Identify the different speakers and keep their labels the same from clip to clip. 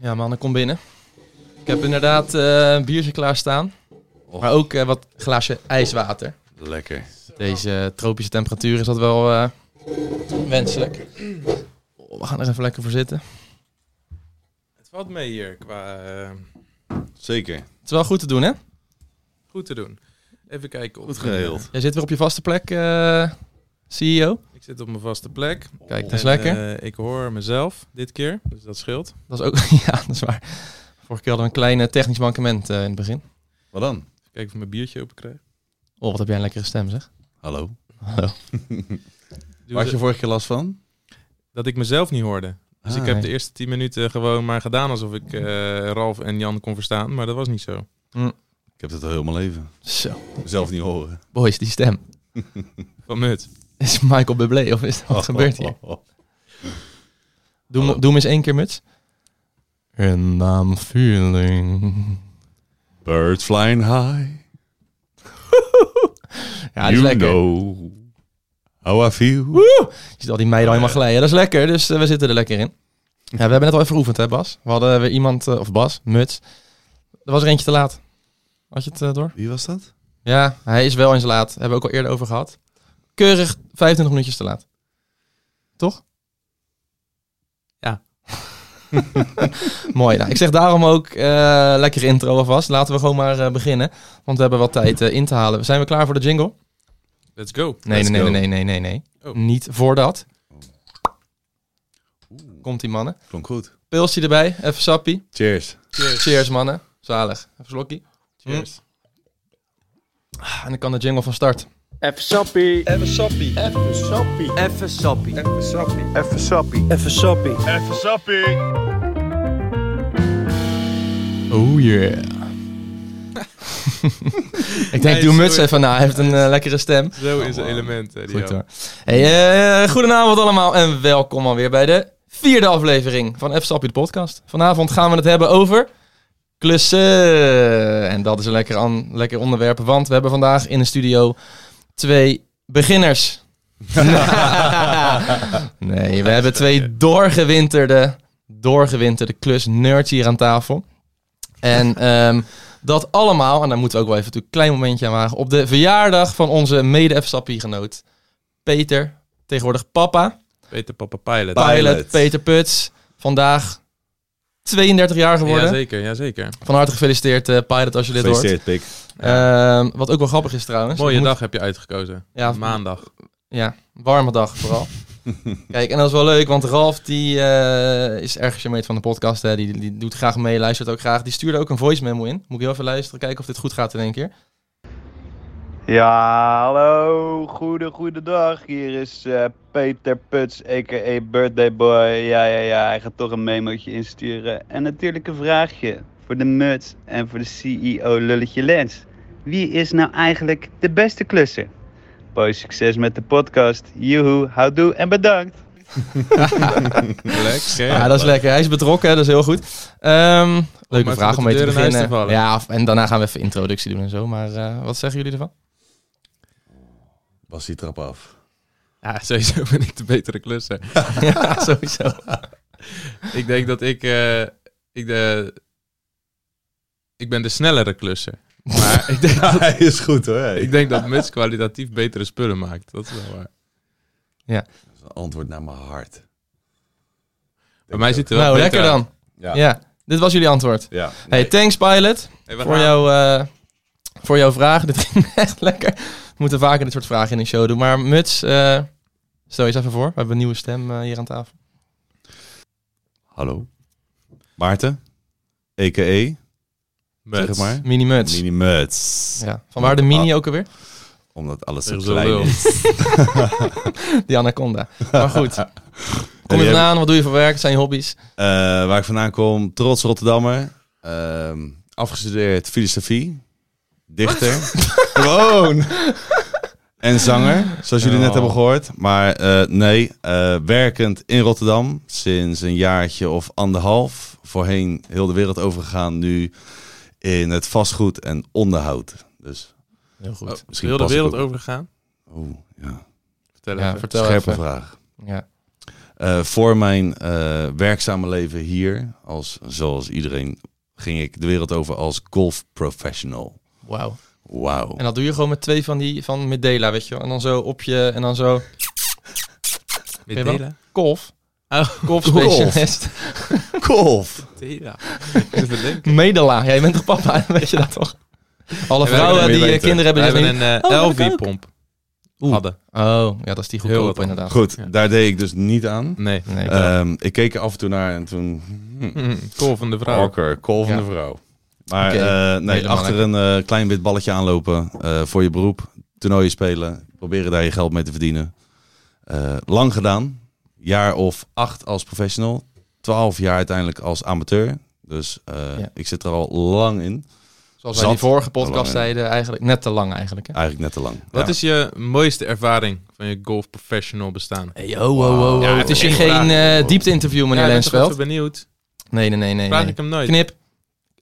Speaker 1: Ja, mannen, kom binnen. Ik heb inderdaad eh, een biertje klaarstaan. Maar ook eh, wat glaasje ijswater.
Speaker 2: Lekker.
Speaker 1: Deze eh, tropische temperatuur is dat wel eh, wenselijk. Oh, we gaan er even lekker voor zitten.
Speaker 3: Het valt mee hier qua eh,
Speaker 2: Zeker.
Speaker 1: Het is wel goed te doen, hè?
Speaker 3: goed te doen. Even kijken. Of
Speaker 2: Goed geregeld.
Speaker 1: Jij zit weer op je vaste plek, eh, CEO.
Speaker 3: eh, Ik zit op mijn vaste plek.
Speaker 1: Kijk, dat is
Speaker 3: En,
Speaker 1: lekker.
Speaker 3: eh, ik hoor mezelf dit keer, dus dat scheelt.
Speaker 1: Dat is ook, ja, dat is waar. Vorige keer hadden we een klein eh, technisch mankement eh, in het begin.
Speaker 2: Wat dan?
Speaker 3: Even kijken of ik mijn biertje open krijg.
Speaker 1: Oh, wat heb jij een lekkere stem, zeg.
Speaker 2: Hallo.
Speaker 1: Hallo.
Speaker 3: Doe
Speaker 2: Waar had
Speaker 3: ze-
Speaker 2: je vorige keer last van?
Speaker 3: Dat ik mezelf niet hoorde. Dus
Speaker 2: Ah,
Speaker 3: ik heb
Speaker 1: nee.
Speaker 3: de eerste 10 minuten gewoon maar gedaan alsof ik eh, Ralf en Jan kon verstaan, maar dat was niet zo.
Speaker 2: Ik heb dat al heel mijn leven.
Speaker 1: Zo,
Speaker 2: Zelf niet horen.
Speaker 1: boys, die stem.
Speaker 3: Van Mut.
Speaker 1: Is Michael Bublé of is
Speaker 2: Oh,
Speaker 1: wat gebeurt hier? Doe, me- doe hem eens één keer, Muts. En I'm feeling...
Speaker 2: Birds flying high.
Speaker 1: Ja, dat is
Speaker 2: you
Speaker 1: lekker.
Speaker 2: know how I feel.
Speaker 1: Woe! Je ziet al die meiden al helemaal glijden. Dat is lekker, dus eh, we zitten er lekker in. Ja, we hebben net al even geoefend, hè Bas? We hadden weer iemand, eh, of Bas, Muts. Er was er eentje te laat. Had je het eh, door?
Speaker 2: Wie was dat?
Speaker 1: Ja, hij is wel eens laat. Hebben we ook al eerder over gehad. Keurig 25 minuutjes te laat. Toch?
Speaker 3: Ja.
Speaker 1: Mooi. Nou, ik zeg daarom ook eh lekkere intro alvast. Laten we gewoon maar eh, beginnen. Want we hebben wat tijd eh, in te halen. Zijn we klaar voor de jingle?
Speaker 3: Let's go.
Speaker 1: Nee,
Speaker 2: Let's
Speaker 1: nee, nee,
Speaker 2: go.
Speaker 1: nee, nee, nee, nee.
Speaker 3: Oh.
Speaker 1: Niet voordat.
Speaker 2: Oeh,
Speaker 1: Komt die mannen.
Speaker 2: klonk goed.
Speaker 1: Pilsje erbij. Even sappie.
Speaker 2: Cheers.
Speaker 3: Cheers.
Speaker 1: Cheers mannen. Zalig. Even slokkie.
Speaker 3: Cheers.
Speaker 1: Ah, En dan kan de jingle van start.
Speaker 4: Even sappie. Even sappie. Even sappie.
Speaker 5: Even sappie.
Speaker 4: Even sappie. Even sappie.
Speaker 5: Even sappie.
Speaker 4: Even sappie.
Speaker 1: Oh yeah. ik denk,
Speaker 3: Nice,
Speaker 1: doe muts
Speaker 3: sorry.
Speaker 1: even na. Hij heeft een eh, lekkere stem.
Speaker 3: Zo is het element. eh, die
Speaker 1: Goed
Speaker 3: Jan.
Speaker 1: hoor. Hey, eh, goedenavond allemaal en welkom alweer bij de vierde aflevering van F Sappie de podcast. Vanavond gaan we het hebben over klussen. En dat is een lekker, an- lekker onderwerp, want we hebben vandaag in de studio twee beginners. nee, we hebben twee doorgewinterde, doorgewinterde klusnerds hier aan tafel. En ehm, dat allemaal, en daar moeten we ook wel even natuurlijk een klein momentje aan wagen, op de verjaardag van onze mede f genoot Peter, tegenwoordig papa,
Speaker 3: Peter Papa Pilot.
Speaker 2: Pa-
Speaker 1: pilot,
Speaker 2: Pilot.
Speaker 1: Peter Puts, vandaag 32 jaar geworden.
Speaker 3: Jazeker, jazeker.
Speaker 1: van harte gefeliciteerd eh, Pilot als je dit hoort.
Speaker 2: Gefeliciteerd, Pik.
Speaker 1: Ehm, wat ook wel grappig is trouwens.
Speaker 3: Mooie
Speaker 1: Ik moet-
Speaker 3: dag heb je uitgekozen.
Speaker 1: Ja,
Speaker 3: Maandag.
Speaker 1: Ja, warme dag vooral. Kijk, en dat is wel leuk, want Ralf die eh, is erg gecharmeerd van de podcast. Hè. Die, die doet graag mee, luistert ook graag. Die stuurde ook een voice memo in. Moet ik heel even luisteren, kijken of dit goed gaat in één keer.
Speaker 4: Ja, hallo. Goede, goede dag. Hier is eh, Peter Puts, a.k.a. Birthday Boy. Ja, ja, ja. Hij gaat toch een memootje insturen. En natuurlijk een vraagje voor de muts en voor de CEO Lulletje Lens. Wie is nou eigenlijk de beste klusser? Boy, succes met de podcast. Joehoe, houdoe en bedankt.
Speaker 3: Lekker.
Speaker 1: Ja, Ah, dat is lekker. Hij is betrokken, hè. dat is heel goed. Ehm, leuke
Speaker 3: maar
Speaker 1: vraag
Speaker 3: goed
Speaker 1: om
Speaker 3: de
Speaker 1: mee te
Speaker 3: deur in huis te
Speaker 1: beginnen.
Speaker 3: vallen.
Speaker 1: ja, of- en daarna gaan we even introductie doen en zo. Maar eh, wat zeggen jullie ervan?
Speaker 2: Was die trap af.
Speaker 3: Ja, sowieso ben ik de betere klusser.
Speaker 1: ja, sowieso.
Speaker 3: ik denk dat ik... eh, ik, de, ik ben de snellere klusser. Maar ik denk, dat,
Speaker 2: Hij is goed hoor. hey.
Speaker 3: ik denk dat Muts kwalitatief betere spullen maakt. Dat is wel waar.
Speaker 2: Dat is een antwoord naar mijn hart.
Speaker 3: Bij mij zit er wel
Speaker 1: Nou,
Speaker 3: beter
Speaker 1: lekker
Speaker 3: uit.
Speaker 1: dan.
Speaker 2: Ja.
Speaker 1: Ja. dit was jullie antwoord.
Speaker 2: Ja.
Speaker 1: Hey, thanks Pilot.
Speaker 3: Hey, we
Speaker 1: voor,
Speaker 3: gaan.
Speaker 1: jouw, eh, voor jouw vraag. Dit ging echt lekker. We moeten vaker dit soort vragen in een show doen. Maar Muts, eh, stel eens even voor. We hebben een nieuwe stem eh, hier aan tafel.
Speaker 2: Hallo. Maarten. A.k.a.
Speaker 3: Muts.
Speaker 2: Zeg maar.
Speaker 1: Mini Ah. Muts.
Speaker 2: Mini Muts.
Speaker 1: Ja. Van waar de mini ook alweer?
Speaker 2: Omdat alles
Speaker 3: Er
Speaker 2: zo
Speaker 3: is wel
Speaker 2: klein
Speaker 3: lul.
Speaker 2: is.
Speaker 1: Die anaconda. Maar goed. Kom je
Speaker 2: jij-
Speaker 1: vandaan? Wat doe je voor werk? Wat zijn je hobby's?
Speaker 2: Eh, waar ik vandaan kom, trots Rotterdammer. Ehm, afgestudeerd filosofie. Dichter. Gewoon. En zanger, zoals jullie net
Speaker 3: Oh.
Speaker 2: hebben gehoord. Maar eh, nee, eh, werkend in Rotterdam sinds een jaartje of anderhalf. Voorheen heel de wereld overgegaan, nu in het vastgoed en onderhoud. Dus,
Speaker 1: Heel goed.
Speaker 3: Oh,
Speaker 2: Misschien
Speaker 3: heel de
Speaker 2: pas ik
Speaker 3: wereld
Speaker 2: ook.
Speaker 3: overgegaan.
Speaker 2: oeh, ja.
Speaker 3: Vertel
Speaker 1: ja,
Speaker 3: even.
Speaker 1: vertel
Speaker 2: Scherpe
Speaker 1: even.
Speaker 2: vraag.
Speaker 1: Ja.
Speaker 2: Eh, voor mijn eh, werkzame leven hier, als, zoals iedereen, ging ik de wereld over als golf professional.
Speaker 1: Wauw.
Speaker 2: Wauw.
Speaker 1: En dat doe je gewoon met twee van die van Medela, weet je wel. En dan zo op je, en dan zo
Speaker 3: Met
Speaker 1: je wel?
Speaker 3: Dela?
Speaker 1: kolf.
Speaker 3: Oh,
Speaker 1: Kolf specialist.
Speaker 2: Golf!
Speaker 3: Dela. Ik moet even denken.
Speaker 1: Medela. Jij bent toch papa, weet je dat toch? Alle
Speaker 3: En wij
Speaker 1: vrouwen
Speaker 2: willen
Speaker 1: die
Speaker 2: meer
Speaker 1: eh,
Speaker 2: weten.
Speaker 1: kinderen
Speaker 3: We
Speaker 1: hebben,
Speaker 3: hebben
Speaker 1: zeggen
Speaker 3: een eh,
Speaker 1: Oh, dat heb ik ook.
Speaker 3: LV-pomp.
Speaker 1: Oeh.
Speaker 3: Hadden.
Speaker 1: Oh, ja, dat is die
Speaker 3: Heel wat
Speaker 1: goedkoop
Speaker 3: dan.
Speaker 1: inderdaad. Eh,
Speaker 2: Goed,
Speaker 3: Ja.
Speaker 2: daar deed ik dus niet aan.
Speaker 3: Nee.
Speaker 1: Nee,
Speaker 2: Ehm, ik keek er af en toe naar en toen... hmm,
Speaker 3: Mm, Kool van de vrouw.
Speaker 2: Orker, kool van
Speaker 1: Ja.
Speaker 2: de vrouw. Maar
Speaker 1: Oké,
Speaker 2: eh, nee,
Speaker 1: helemaal
Speaker 2: achter een eh, klein wit balletje aanlopen eh, voor je beroep. Toernooien spelen, proberen daar je geld mee te verdienen. Eh, lang gedaan. Jaar of acht als professional. Twaalf jaar uiteindelijk als amateur. Dus eh,
Speaker 1: Ja.
Speaker 2: ik zit er al lang in.
Speaker 1: Zoals wij
Speaker 2: zat.
Speaker 1: die vorige podcast
Speaker 2: Te lang, hè?
Speaker 1: zeiden, eigenlijk net te lang eigenlijk. Hè?
Speaker 2: Eigenlijk net te lang.
Speaker 3: Wat
Speaker 2: Ja.
Speaker 3: is je mooiste ervaring van je golf professional bestaan?
Speaker 1: Hey, ho, ho, ho, ho.
Speaker 3: Ja,
Speaker 1: het is hier
Speaker 3: één
Speaker 1: geen
Speaker 3: vraag.
Speaker 1: eh, diepte-interview, meneer
Speaker 3: ik ben toch
Speaker 1: Lensveld.
Speaker 3: even benieuwd.
Speaker 1: Nee, nee, nee, nee.
Speaker 3: Vraag
Speaker 1: nee.
Speaker 3: ik hem nooit.
Speaker 1: Knip.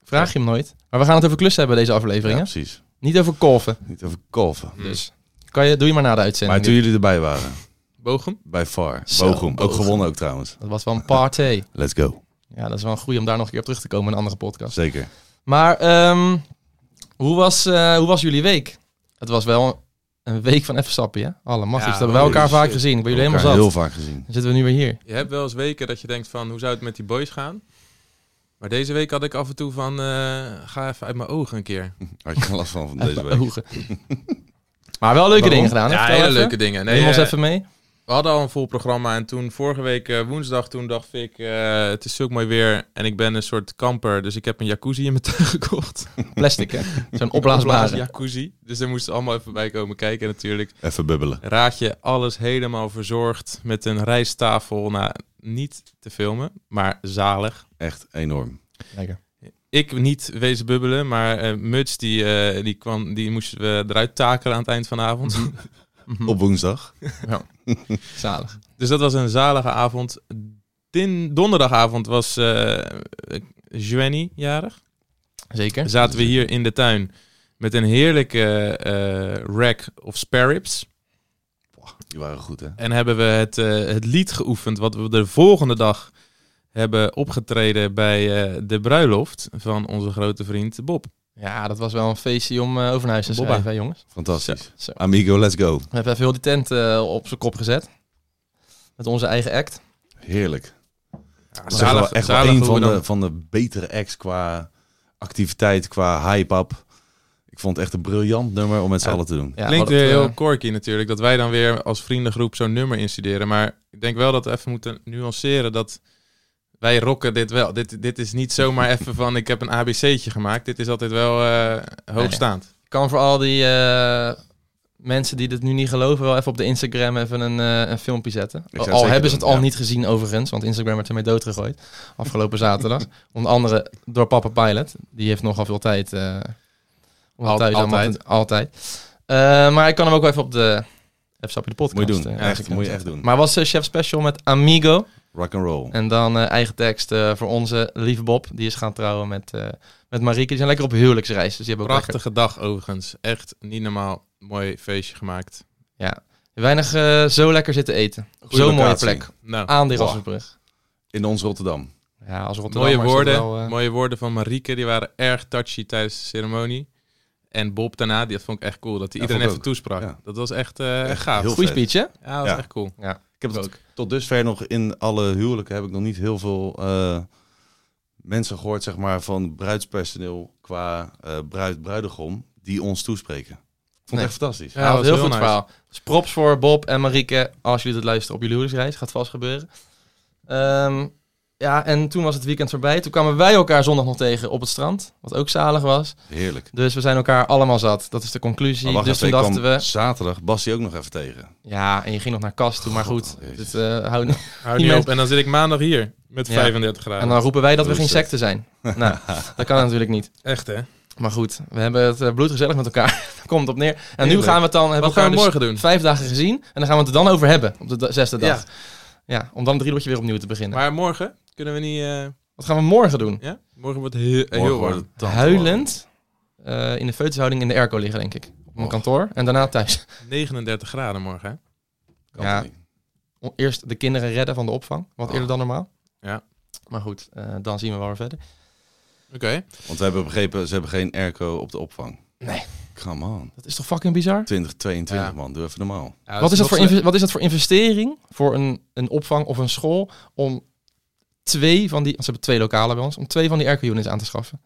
Speaker 1: Vraag je hem nooit. Maar we gaan het over klussen hebben deze
Speaker 2: Ja,
Speaker 1: aflevering. hè?
Speaker 2: precies.
Speaker 1: Niet over kolven.
Speaker 2: Niet over golven.
Speaker 1: Dus kan je, doe je maar na de uitzending.
Speaker 2: Maar toen jullie erbij waren,
Speaker 3: Bogen?
Speaker 2: bij far.
Speaker 1: Zo,
Speaker 2: Bochum. Ook
Speaker 1: Bochum.
Speaker 2: gewonnen ook trouwens.
Speaker 1: Dat was wel een party.
Speaker 2: Let's go.
Speaker 1: Ja, dat is wel een goeie om daar nog een keer op terug te komen in een andere podcast.
Speaker 2: Zeker.
Speaker 1: Maar ehm, hoe, was, eh, hoe was jullie week? Het was wel een week van even sappen, ja? Alle mag.
Speaker 3: Ja, eh,
Speaker 1: dat hebben we elkaar
Speaker 3: holy
Speaker 1: vaak
Speaker 3: shit.
Speaker 1: gezien. Ik ben jullie
Speaker 2: Elkaar
Speaker 1: helemaal zat.
Speaker 2: heel vaak gezien.
Speaker 1: Dan zitten we nu weer hier.
Speaker 3: Je hebt wel eens weken dat je denkt van, hoe zou het met die boys gaan? Maar deze week had ik af en toe van, eh, ga even uit mijn ogen een keer.
Speaker 2: Had je last van, van
Speaker 1: Uit
Speaker 2: deze
Speaker 1: mijn
Speaker 2: week?
Speaker 1: ogen. maar wel leuke dingen gedaan. hè?
Speaker 3: Ja,
Speaker 1: Vertel
Speaker 3: hele
Speaker 1: even.
Speaker 3: leuke dingen. Nee,
Speaker 1: Neem ons
Speaker 3: eh,
Speaker 1: even mee.
Speaker 3: We hadden al een vol programma en toen vorige week eh, woensdag, toen dacht ik, eh, het is zulk mooi weer en ik ben een soort kamper, dus ik heb een jacuzzi in mijn tuin gekocht.
Speaker 1: Plastic, hè? Zo'n opblaasbare.
Speaker 3: jacuzzi. Dus daar moesten ze allemaal even bij komen kijken natuurlijk.
Speaker 2: Even bubbelen.
Speaker 3: Raad je alles helemaal verzorgd met een rijsttafel. Nou, niet te filmen, maar zalig.
Speaker 2: Echt enorm.
Speaker 1: Lekker.
Speaker 3: Ik niet wezen bubbelen, maar eh, Muts die, eh, die, kwam, die moesten we eruit takelen aan het eind van de avond.
Speaker 1: Hm.
Speaker 2: Op woensdag.
Speaker 1: Zalig.
Speaker 3: Dus dat was een zalige avond. Din donderdagavond was eh Joanny jarig.
Speaker 1: Zeker.
Speaker 3: Zaten we hier in de tuin met een heerlijke eh rack of spare ribs.
Speaker 2: Die waren goed, hè?
Speaker 3: En hebben we het, eh, het lied geoefend wat we de volgende dag hebben opgetreden bij eh, de bruiloft van onze grote vriend Bob.
Speaker 1: Ja, dat was wel een feestje om eh, over naar huis te
Speaker 3: Bobba.
Speaker 1: schrijven, hè, jongens.
Speaker 2: Fantastisch.
Speaker 1: Zo.
Speaker 2: Amigo, let's go.
Speaker 1: We hebben even heel die tent eh, op zijn kop gezet. Met onze eigen act.
Speaker 2: Heerlijk.
Speaker 3: Ja,
Speaker 2: Dat is wel echt wel een van de,
Speaker 3: dan,
Speaker 2: van de betere acts qua activiteit, qua hype-up. Ik vond het echt een briljant nummer om met z'n
Speaker 3: Ja.
Speaker 2: allen te doen.
Speaker 1: Ja,
Speaker 3: Klinkt
Speaker 1: wat het,
Speaker 3: weer
Speaker 1: eh,
Speaker 3: heel corky natuurlijk, dat wij dan weer als vriendengroep zo'n nummer instuderen. Maar ik denk wel dat we even moeten nuanceren dat wij rocken dit wel. Dit, dit is niet zomaar even van ik heb een ABC'tje gemaakt. Dit is altijd wel eh, hoogstaand.
Speaker 1: kan voor al die eh, mensen die dit nu niet geloven, wel even op de Instagram even een, eh, een filmpje zetten.
Speaker 2: zou het
Speaker 1: al
Speaker 2: zeker
Speaker 1: hebben ze het
Speaker 2: doen,
Speaker 1: al
Speaker 2: ja.
Speaker 1: niet gezien overigens, want Instagram werd ermee doodgegooid. Afgelopen zaterdag. Onder andere door Papa Pilot. Die heeft nogal veel tijd. eh, om
Speaker 3: Al-
Speaker 1: thuis allemaal
Speaker 3: altijd.
Speaker 1: te- altijd. Eh, maar ik kan hem ook wel even op de F-Sapje de podcast.
Speaker 2: Moet je
Speaker 1: eh,
Speaker 2: doen. echt,
Speaker 1: eigenlijk
Speaker 2: moet je
Speaker 1: zetten.
Speaker 2: echt doen.
Speaker 1: Maar was eh, Chef Special met Amigo.
Speaker 2: Rock and roll.
Speaker 1: En dan eh, eigen tekst eh, voor onze lieve Bob. Die is gaan trouwen met, eh met Marieke. Die zijn lekker op huwelijksreis. Dus die hebben ook lekker-
Speaker 3: Prachtige dag overigens. Echt niet normaal mooi feestje gemaakt.
Speaker 1: weinig eh, zo lekker zitten eten. Op
Speaker 2: Goeie
Speaker 1: Zo'n mooie
Speaker 2: locatie. Ah,
Speaker 1: plek.
Speaker 3: Nou,
Speaker 1: Aan die
Speaker 2: Wow.
Speaker 1: Rasmusbrug.
Speaker 2: In ons Rotterdam.
Speaker 1: Ja, als Rotterdammer is
Speaker 3: mooie
Speaker 1: dat
Speaker 3: woorden,
Speaker 1: wel, eh,
Speaker 3: mooie woorden van Marieke, die waren erg touchy tijdens de ceremonie. En Bob daarna, die, dat vond ik echt cool, dat
Speaker 2: Ja,
Speaker 3: hij iedereen even
Speaker 2: vond ik
Speaker 3: toesprak.
Speaker 2: Ja.
Speaker 3: Dat was echt, eh
Speaker 2: Echt
Speaker 3: gaaf.
Speaker 2: heel
Speaker 1: Goeie
Speaker 2: vet.
Speaker 1: speech, hè?
Speaker 3: Ja, dat was
Speaker 2: Ja.
Speaker 3: echt cool.
Speaker 2: Ik heb het
Speaker 1: ook.
Speaker 2: tot dusver nog in alle huwelijken heb ik nog niet heel veel eh, mensen gehoord, zeg maar, van bruidspersoneel qua eh, bruid, bruidegom, die ons toespreken. Ik vond het
Speaker 1: Nee.
Speaker 2: echt fantastisch.
Speaker 1: Ja,
Speaker 3: Ja,
Speaker 1: dat
Speaker 3: was
Speaker 1: was heel
Speaker 3: heel
Speaker 1: goed
Speaker 3: nice.
Speaker 1: verhaal. Dus props voor Bob en Marieke. Als jullie dit luisteren op jullie huwelijksreis. Gaat vast gebeuren. Ehm, ja, en toen was het weekend voorbij. Toen kwamen wij elkaar zondag nog tegen op het strand. Wat ook zalig was.
Speaker 2: Heerlijk.
Speaker 1: Dus we zijn elkaar allemaal zat. Dat is de conclusie.
Speaker 2: Maar Oh, wacht
Speaker 1: dus
Speaker 2: even,
Speaker 1: toen
Speaker 2: ik
Speaker 1: dachten
Speaker 2: kwam
Speaker 1: we...
Speaker 2: zaterdag Bassie ook nog even tegen.
Speaker 1: Ja, en je ging nog naar kast toe. Maar goed,
Speaker 2: jezus.
Speaker 1: dit, eh, houden.
Speaker 3: Hou niet
Speaker 1: Iemand-
Speaker 3: op. En dan zit ik maandag hier met
Speaker 1: Ja.
Speaker 3: 35 graden.
Speaker 1: en dan roepen wij dat we
Speaker 2: Hoe
Speaker 1: geen
Speaker 2: is dat?
Speaker 1: secten zijn. nou, dat kan natuurlijk niet.
Speaker 3: Echt hè?
Speaker 1: Maar goed, we hebben het eh, bloedgezellig met elkaar. Daar komt het op neer. En nu
Speaker 3: Heerlijk.
Speaker 1: gaan we het dan... hebben
Speaker 3: Wat
Speaker 1: elkaar
Speaker 3: gaan we
Speaker 1: dus
Speaker 3: morgen doen?
Speaker 1: Vijf dagen gezien. En dan gaan we het er dan over hebben. Op de da- zesde dag.
Speaker 3: Ja.
Speaker 1: Ja. om dan drie uurtje weer opnieuw te beginnen.
Speaker 3: Maar morgen kunnen we niet. eh,
Speaker 1: Wat gaan we morgen doen?
Speaker 3: ja? Morgen wordt heel,
Speaker 2: Morgen
Speaker 3: heel
Speaker 2: wordt
Speaker 3: warm.
Speaker 2: het tand-
Speaker 1: Huilend eh, in de feutushouding in de airco liggen, denk ik. Op mijn
Speaker 2: Och.
Speaker 1: kantoor en daarna thuis.
Speaker 3: 39 graden morgen. Hè?
Speaker 2: Kan
Speaker 1: Ja.
Speaker 2: niet.
Speaker 1: o- eerst de kinderen redden van de opvang. Wat
Speaker 3: Oh.
Speaker 1: eerder dan normaal.
Speaker 3: Ja.
Speaker 1: Maar goed, eh, dan zien we wel weer verder.
Speaker 3: Oké.
Speaker 2: Want we hebben begrepen, ze hebben geen airco op de opvang.
Speaker 1: Nee.
Speaker 2: Come on.
Speaker 1: Dat is toch fucking bizar?
Speaker 2: 2022
Speaker 3: Ja.
Speaker 2: man, doe even normaal.
Speaker 3: Ja,
Speaker 1: Wat
Speaker 3: dus
Speaker 1: is, dat
Speaker 3: nog
Speaker 1: voor
Speaker 3: sle-
Speaker 1: inve- wat is dat voor investering voor een, een opvang of een school om twee van die, want ze hebben twee lokalen bij ons, om twee van die airco-units aan te schaffen?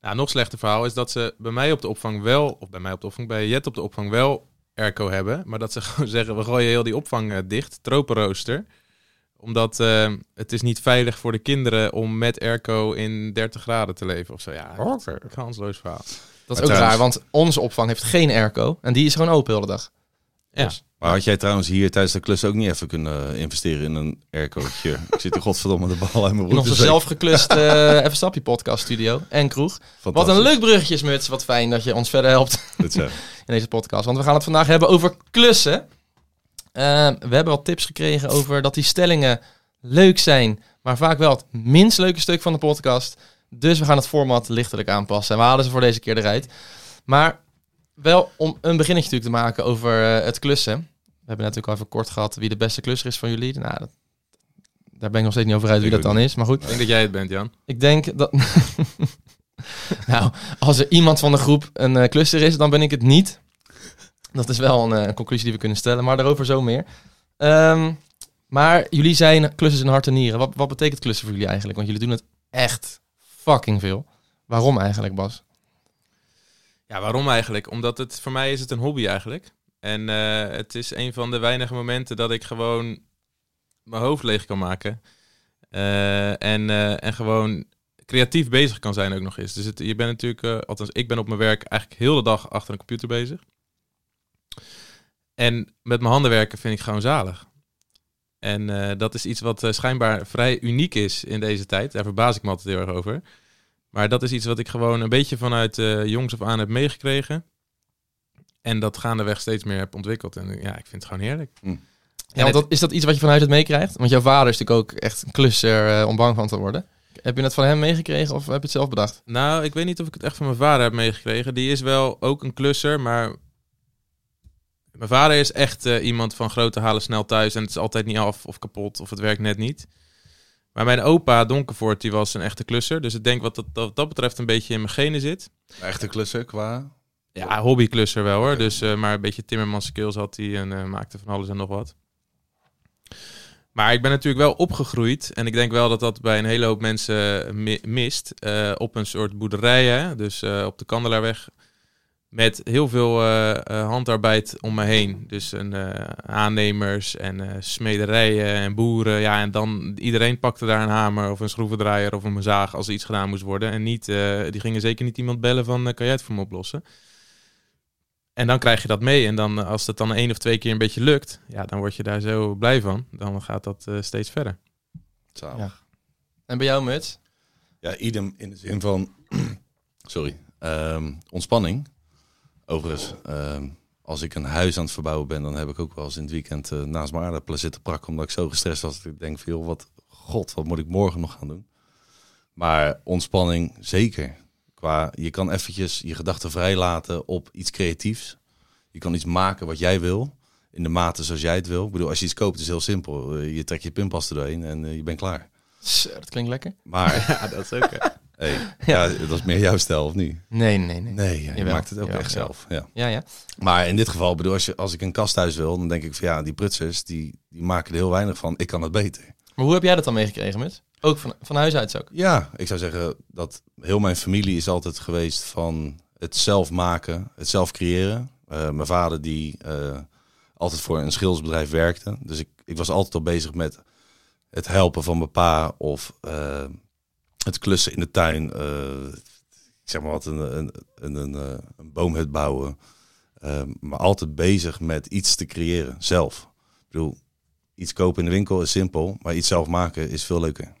Speaker 3: Ja, nog slechter verhaal is dat ze bij mij op de opvang wel, of bij mij op de opvang, bij Jet op de opvang wel airco hebben. Maar dat ze gewoon zeggen, we gooien heel die opvang eh, dicht, tropenrooster. Omdat eh, het is niet veilig voor de kinderen om met airco in 30 graden te leven of zo. Ja, dat is een kansloos verhaal.
Speaker 1: Dat is
Speaker 2: Maar
Speaker 1: ook
Speaker 2: thuis-
Speaker 1: raar, want onze opvang heeft geen airco en die is gewoon open de hele dag.
Speaker 3: Ja.
Speaker 1: Dus-
Speaker 2: Maar had jij trouwens hier tijdens de klus ook niet even kunnen eh, investeren in een aircootje? Ik zit hier godverdomme de bal uit mijn
Speaker 1: In
Speaker 2: broek.
Speaker 1: onze zelfgeklust eh Even Stapje podcast studio en kroeg. Wat een leuk bruggetje is, Muts. Wat fijn dat je ons verder helpt
Speaker 2: eh,
Speaker 1: in deze podcast. Want we gaan het vandaag hebben over klussen. Ehm, we hebben wat tips gekregen over dat die stellingen leuk zijn, maar vaak wel het minst leuke stuk van de podcast. Dus we gaan het format lichtelijk aanpassen. En we halen ze voor deze keer eruit. Maar wel om een beginnetje natuurlijk te maken over eh, het klussen. We hebben natuurlijk al even kort gehad wie de beste klusser is van jullie. Nou, dat, daar ben ik nog steeds niet over uit wie
Speaker 2: Ik
Speaker 1: dat
Speaker 2: ook
Speaker 1: dan is. Maar goed.
Speaker 3: Ik denk dat jij het bent, Jan.
Speaker 1: Ik denk dat. nou, als er iemand van de groep een eh, cluster is, dan ben ik het niet. Dat is wel een eh, conclusie die we kunnen stellen, maar daarover zo meer. Ehm, maar jullie zijn klussers in hart en nieren. Wat, wat betekent klussen voor jullie eigenlijk? Want jullie doen het echt fucking veel. Waarom eigenlijk, Bas?
Speaker 3: Ja, waarom eigenlijk? Omdat het voor mij is het een hobby eigenlijk. En eh, het is een van de weinige momenten dat ik gewoon mijn hoofd leeg kan maken. Eh, en, eh, en gewoon creatief bezig kan zijn ook nog eens. Dus het, je bent natuurlijk, eh, althans ik ben op mijn werk eigenlijk heel de dag achter een computer bezig. En met mijn handen werken vind ik gewoon zalig. En eh, dat is iets wat eh, schijnbaar vrij uniek is in deze tijd. Daar verbaas ik me altijd heel erg over. Maar dat is iets wat ik gewoon een beetje vanuit eh, jongs af aan heb meegekregen. En dat gaandeweg steeds meer heb ontwikkeld. En eh, ja, ik vind het gewoon heerlijk.
Speaker 2: Mm.
Speaker 1: Ja, want dat, is dat iets wat je vanuit het meekrijgt? Want jouw vader is natuurlijk ook echt een klusser eh, om bang van te worden. Heb je het van hem meegekregen of heb je het zelf bedacht?
Speaker 3: Nou, ik weet niet of ik het echt van mijn vader heb meegekregen. Die is wel ook een klusser, maar... Mijn vader is echt eh, iemand van grote halen snel thuis. En het is altijd niet af of kapot of het werkt net niet. Maar mijn opa, Donkervoort, die was een echte klusser. Dus ik denk wat dat, dat, dat betreft een beetje in mijn genen zit.
Speaker 2: Echte klussen qua...
Speaker 3: Ja, hobbyklusser wel hoor. Dus, eh, maar een beetje Timmermans skills had hij en eh, maakte van alles en nog wat. Maar ik ben natuurlijk wel opgegroeid. En ik denk wel dat dat bij een hele hoop mensen mi- mist. eh, op een soort boerderijen, dus eh, op de Kandelaarweg. Met heel veel eh, eh, handarbeid om me heen. Dus een, eh, aannemers en eh, smederijen en boeren. Ja, en dan iedereen pakte daar een hamer of een schroevendraaier of een zaag als er iets gedaan moest worden. En niet, eh, die gingen zeker niet iemand bellen van eh, kan jij het voor me oplossen? En dan krijg je dat mee. En dan, eh, als dat dan één of twee keer een beetje lukt, ja, dan word je daar zo blij van. Dan gaat dat eh, steeds verder.
Speaker 2: Zalig.
Speaker 1: Ja. En bij jou, Muts?
Speaker 2: Ja, idem in de zin van... sorry. ehm, ontspanning. Overigens, ehm, als ik een huis aan het verbouwen ben... dan heb ik ook wel eens in het weekend eh, naast mijn aardappelen zitten prakken... omdat ik zo gestrest was dat ik denk van... joh, wat, god, wat moet ik morgen nog gaan doen? Maar ontspanning zeker. Qua, je kan eventjes je gedachten vrijlaten op iets creatiefs. Je kan iets maken wat jij wil... In de mate zoals jij het wil. Ik bedoel, als je iets koopt, is het heel simpel. Eh, Je trekt je pinpas er doorheen en eh, je bent klaar.
Speaker 1: Zo, dat klinkt lekker.
Speaker 2: Maar
Speaker 3: Ja, dat is ook.
Speaker 2: Hey, ja. dat is meer jouw stijl, of niet?
Speaker 1: Nee, nee, nee.
Speaker 2: Nee, je
Speaker 1: Jawel,
Speaker 2: maakt het ook
Speaker 1: jawel,
Speaker 2: echt
Speaker 1: ja.
Speaker 2: zelf. Ja.
Speaker 1: Ja, ja.
Speaker 2: Maar in dit geval, bedoel, als, je, als ik een kast thuis wil, dan denk ik van ja, die prutsers, die, die maken er heel weinig van. Ik kan het beter.
Speaker 1: Maar hoe heb jij dat dan meegekregen, Muts? Ook van, van huis uit ook?
Speaker 2: Ja, ik zou zeggen dat heel mijn familie is altijd geweest van het zelf maken, het zelf creëren. Eh, mijn vader die eh, altijd voor een schildersbedrijf werkte. Dus ik, ik was altijd al bezig met het helpen van mijn pa of eh, het klussen in de tuin. eh, ik zeg maar wat, een, een, een, een, eh, een boomhut bouwen. Eh, maar altijd bezig met iets te creëren, zelf. Ik bedoel, iets kopen in de winkel is simpel, maar iets zelf maken is veel leuker.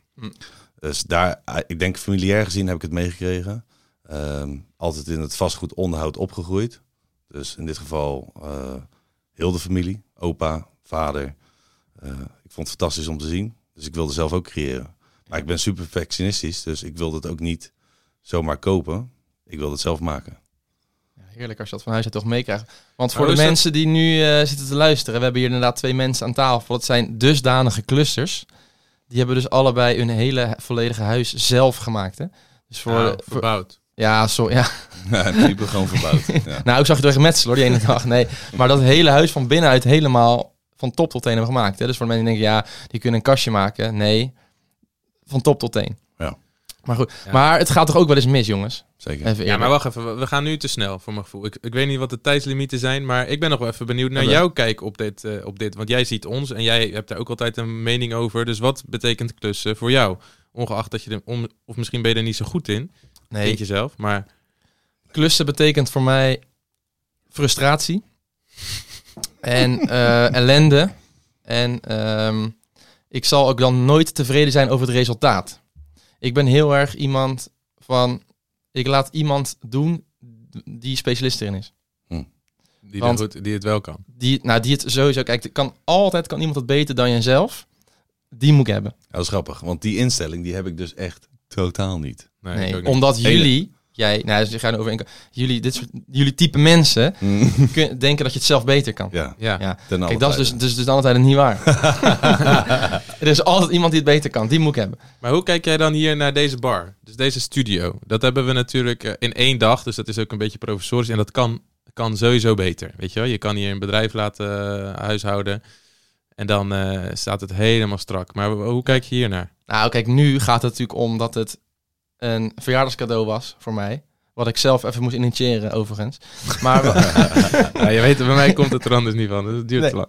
Speaker 2: Dus daar, eh, ik denk familiair gezien heb ik het meegekregen. Ehm, altijd in het vastgoed onderhoud opgegroeid. Dus in dit geval eh, heel de familie, opa, vader. Eh, ik vond het fantastisch om te zien. Dus ik wilde zelf ook creëren. Maar ik ben super perfectionistisch, dus ik wilde het ook niet zomaar kopen. Ik wilde het zelf maken.
Speaker 1: heerlijk als je dat van huis uit toch meekrijgt. Want voor
Speaker 3: Oh,
Speaker 1: de
Speaker 3: is dat-
Speaker 1: mensen die nu eh, zitten te luisteren, we hebben hier inderdaad twee mensen aan tafel. Dat zijn dusdanige clusters. Die hebben dus allebei hun hele volledige huis zelf gemaakt. Hè? Dus voor,
Speaker 3: Nou,
Speaker 1: eh, voor-
Speaker 3: verbouwd.
Speaker 1: ja, sorry, ja,
Speaker 2: Ja, die ben gewoon verbouwd. Ja.
Speaker 1: nou, ik zag je door gemetseld hoor, die ene dag. Nee, maar dat hele huis van binnenuit helemaal van top tot teen hebben gemaakt. Hè? Dus voor de mensen die denken, ja, die kunnen een kastje maken. Nee, van top tot teen.
Speaker 2: Ja.
Speaker 1: Maar goed,
Speaker 3: Ja.
Speaker 1: maar het gaat toch ook wel eens mis, jongens?
Speaker 2: Zeker.
Speaker 1: Even
Speaker 3: Ja,
Speaker 1: eerlijk.
Speaker 3: maar wacht even. we- We gaan nu te snel, voor mijn gevoel. Ik, ik weet niet wat de tijdslimieten zijn, maar ik ben nog wel even benieuwd naar
Speaker 1: Ja,
Speaker 3: jouw kijk op dit, eh, op dit. Want jij ziet ons en jij hebt daar ook altijd een mening over. Dus wat betekent klussen voor jou? Ongeacht dat je er, om, of misschien ben je er niet zo goed in,
Speaker 1: nee,
Speaker 3: vind je zelf. Maar
Speaker 1: klussen betekent voor mij frustratie en eh, ellende. En ehm, ik zal ook dan nooit tevreden zijn over het resultaat. Ik ben heel erg iemand van, ik laat iemand doen die specialist erin is.
Speaker 3: die,
Speaker 1: Want-
Speaker 3: er goed, die het wel kan.
Speaker 1: Die, nou, die het sowieso, kijk, er kan altijd kan iemand het beter dan jijzelf. Die moet ik hebben.
Speaker 2: Ja, dat is grappig, want die instelling die heb ik dus echt totaal niet.
Speaker 3: Nee, ik ook
Speaker 1: Nee,
Speaker 3: niet.
Speaker 1: omdat
Speaker 2: Hele-
Speaker 1: jullie, jij, nou, ze gaan over één- jullie, dit soort, jullie type mensen kun- denken dat je het zelf beter kan.
Speaker 2: Ja,
Speaker 3: Ja.
Speaker 1: Ja.
Speaker 2: ten alle
Speaker 1: Kijk, dat is
Speaker 2: tijde.
Speaker 1: dus, dus, dus dan altijd niet waar. er is altijd iemand die het beter kan. Die moet ik hebben.
Speaker 3: Maar hoe kijk jij dan hier naar deze bar? Dus deze studio. Dat hebben we natuurlijk eh, in één dag. Dus dat is ook een beetje provisorisch. En dat kan, kan sowieso beter. Weet je wel? Je kan hier een bedrijf laten eh, huishouden. En dan eh, staat het helemaal strak. Maar hoe- hoe kijk je hier naar?
Speaker 1: Nou, kijk, nu gaat het natuurlijk om dat het een verjaardagscadeau was voor mij. Wat ik zelf even moest initiëren, overigens. Maar,
Speaker 3: Ja, je weet, bij mij komt het er anders niet van. Dus het duurt
Speaker 1: Nee.
Speaker 3: te lang.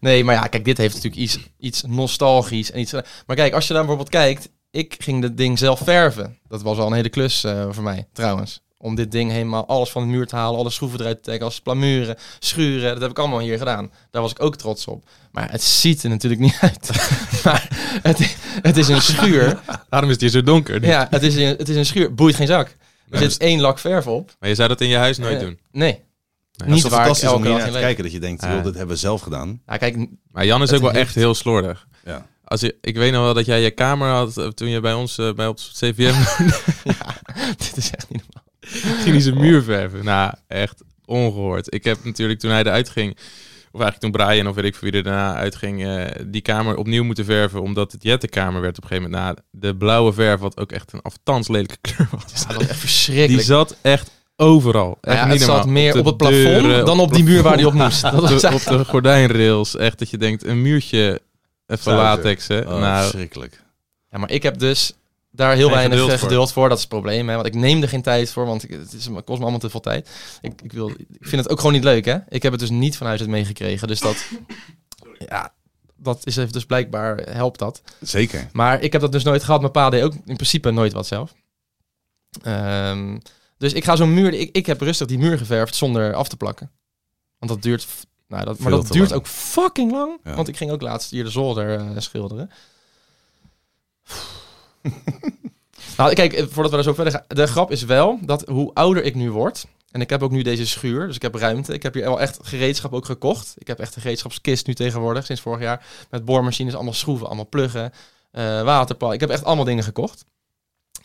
Speaker 1: nee, maar ja, kijk, dit heeft natuurlijk iets, iets nostalgisch. En iets, maar kijk, als je daar bijvoorbeeld kijkt. Ik ging dit ding zelf verven. Dat was al een hele klus eh, voor mij, trouwens. Om dit ding helemaal alles van de muur te halen. Alle schroeven eruit te trekken. Alles plamuren, schuren. Dat heb ik allemaal hier gedaan. Daar was ik ook trots op. Maar het ziet er natuurlijk niet uit. maar het, het is een schuur.
Speaker 3: Daarom is het hier zo donker.
Speaker 1: Ja, dus het is, een, het is een schuur. Boeit geen zak. Er
Speaker 3: Nou,
Speaker 1: zit één lak verf op.
Speaker 3: Maar je zou dat in je huis nooit
Speaker 1: Eh,
Speaker 3: doen.
Speaker 1: Nee.
Speaker 3: dat
Speaker 2: Dat is
Speaker 1: niet
Speaker 2: toch
Speaker 1: waar ik
Speaker 2: fantastisch om
Speaker 1: elke
Speaker 2: hier
Speaker 1: dag
Speaker 2: naar
Speaker 1: in
Speaker 2: te
Speaker 1: leef.
Speaker 2: kijken dat je denkt,
Speaker 3: Ja.
Speaker 2: joh, dit hebben we zelf gedaan.
Speaker 1: Nou, kijk, n-
Speaker 3: Maar Jan is
Speaker 1: Het
Speaker 3: ook wel
Speaker 1: heeft-
Speaker 3: echt heel slordig.
Speaker 2: Ja.
Speaker 3: Als je, ik weet nog wel dat jij je kamer had eh, toen je bij ons eh, bij op CVM
Speaker 1: dit is echt niet normaal.
Speaker 3: ging hij zijn muur verven. Nou, echt ongehoord. Ik heb natuurlijk toen hij eruit ging, of eigenlijk toen Brian of weet ik veel wie er daarna uitging, eh, die kamer opnieuw moeten verven, omdat het jettenkamer werd op een gegeven moment. na de blauwe verf, wat ook echt een afstans lelijke kleur was.
Speaker 1: Ja, dat is echt
Speaker 3: die
Speaker 1: verschrikkelijk.
Speaker 3: zat echt overal. Echt
Speaker 1: Nou ja,
Speaker 3: niet
Speaker 1: het zat
Speaker 3: normaal.
Speaker 1: meer
Speaker 3: de
Speaker 1: op het plafond
Speaker 3: deuren,
Speaker 1: dan
Speaker 3: het
Speaker 1: op die muur waar die op moest.
Speaker 3: plafond,
Speaker 1: Dat was
Speaker 3: op, de, op de gordijnrails. Echt dat je denkt, een muurtje van
Speaker 2: Zuiver.
Speaker 3: latex.
Speaker 1: Eh,
Speaker 3: Hè?
Speaker 2: Oh,
Speaker 3: nou,
Speaker 2: verschrikkelijk.
Speaker 1: Ja, maar ik heb dus daar heel
Speaker 3: Geen
Speaker 1: weinig geduld,
Speaker 3: geduld voor.
Speaker 1: geduld voor. Dat is het probleem. Hè? Want ik neem er geen tijd voor, want ik- het, is, het kost me allemaal te veel tijd. Ik, ik, wil, ik vind het ook gewoon niet leuk, hè? Ik heb het dus niet vanuit het meegekregen. Dus dat... Ja, dat is even dus blijkbaar helpt dat.
Speaker 2: Zeker.
Speaker 1: Maar ik heb dat dus nooit gehad. Mijn pa deed ook in principe nooit wat zelf. Ehm, dus ik ga zo'n muur... Ik, ik heb rustig die muur geverfd zonder af te plakken. Want dat duurt... f- Nou, dat, maar
Speaker 2: Veel
Speaker 1: dat
Speaker 2: te
Speaker 1: duurt
Speaker 2: lang.
Speaker 1: ook fucking lang.
Speaker 2: Ja.
Speaker 1: Want ik ging ook laatst hier de zolder eh, schilderen. nou, kijk, eh, voordat we daar zo verder gaan. De grap is wel dat hoe ouder ik nu word... En ik heb ook nu deze schuur, dus ik heb ruimte. Ik heb hier wel echt gereedschap ook gekocht. Ik heb echt een gereedschapskist nu tegenwoordig, sinds vorig jaar. Met boormachines, allemaal schroeven, allemaal pluggen eh waterpal. Ik heb echt allemaal dingen gekocht.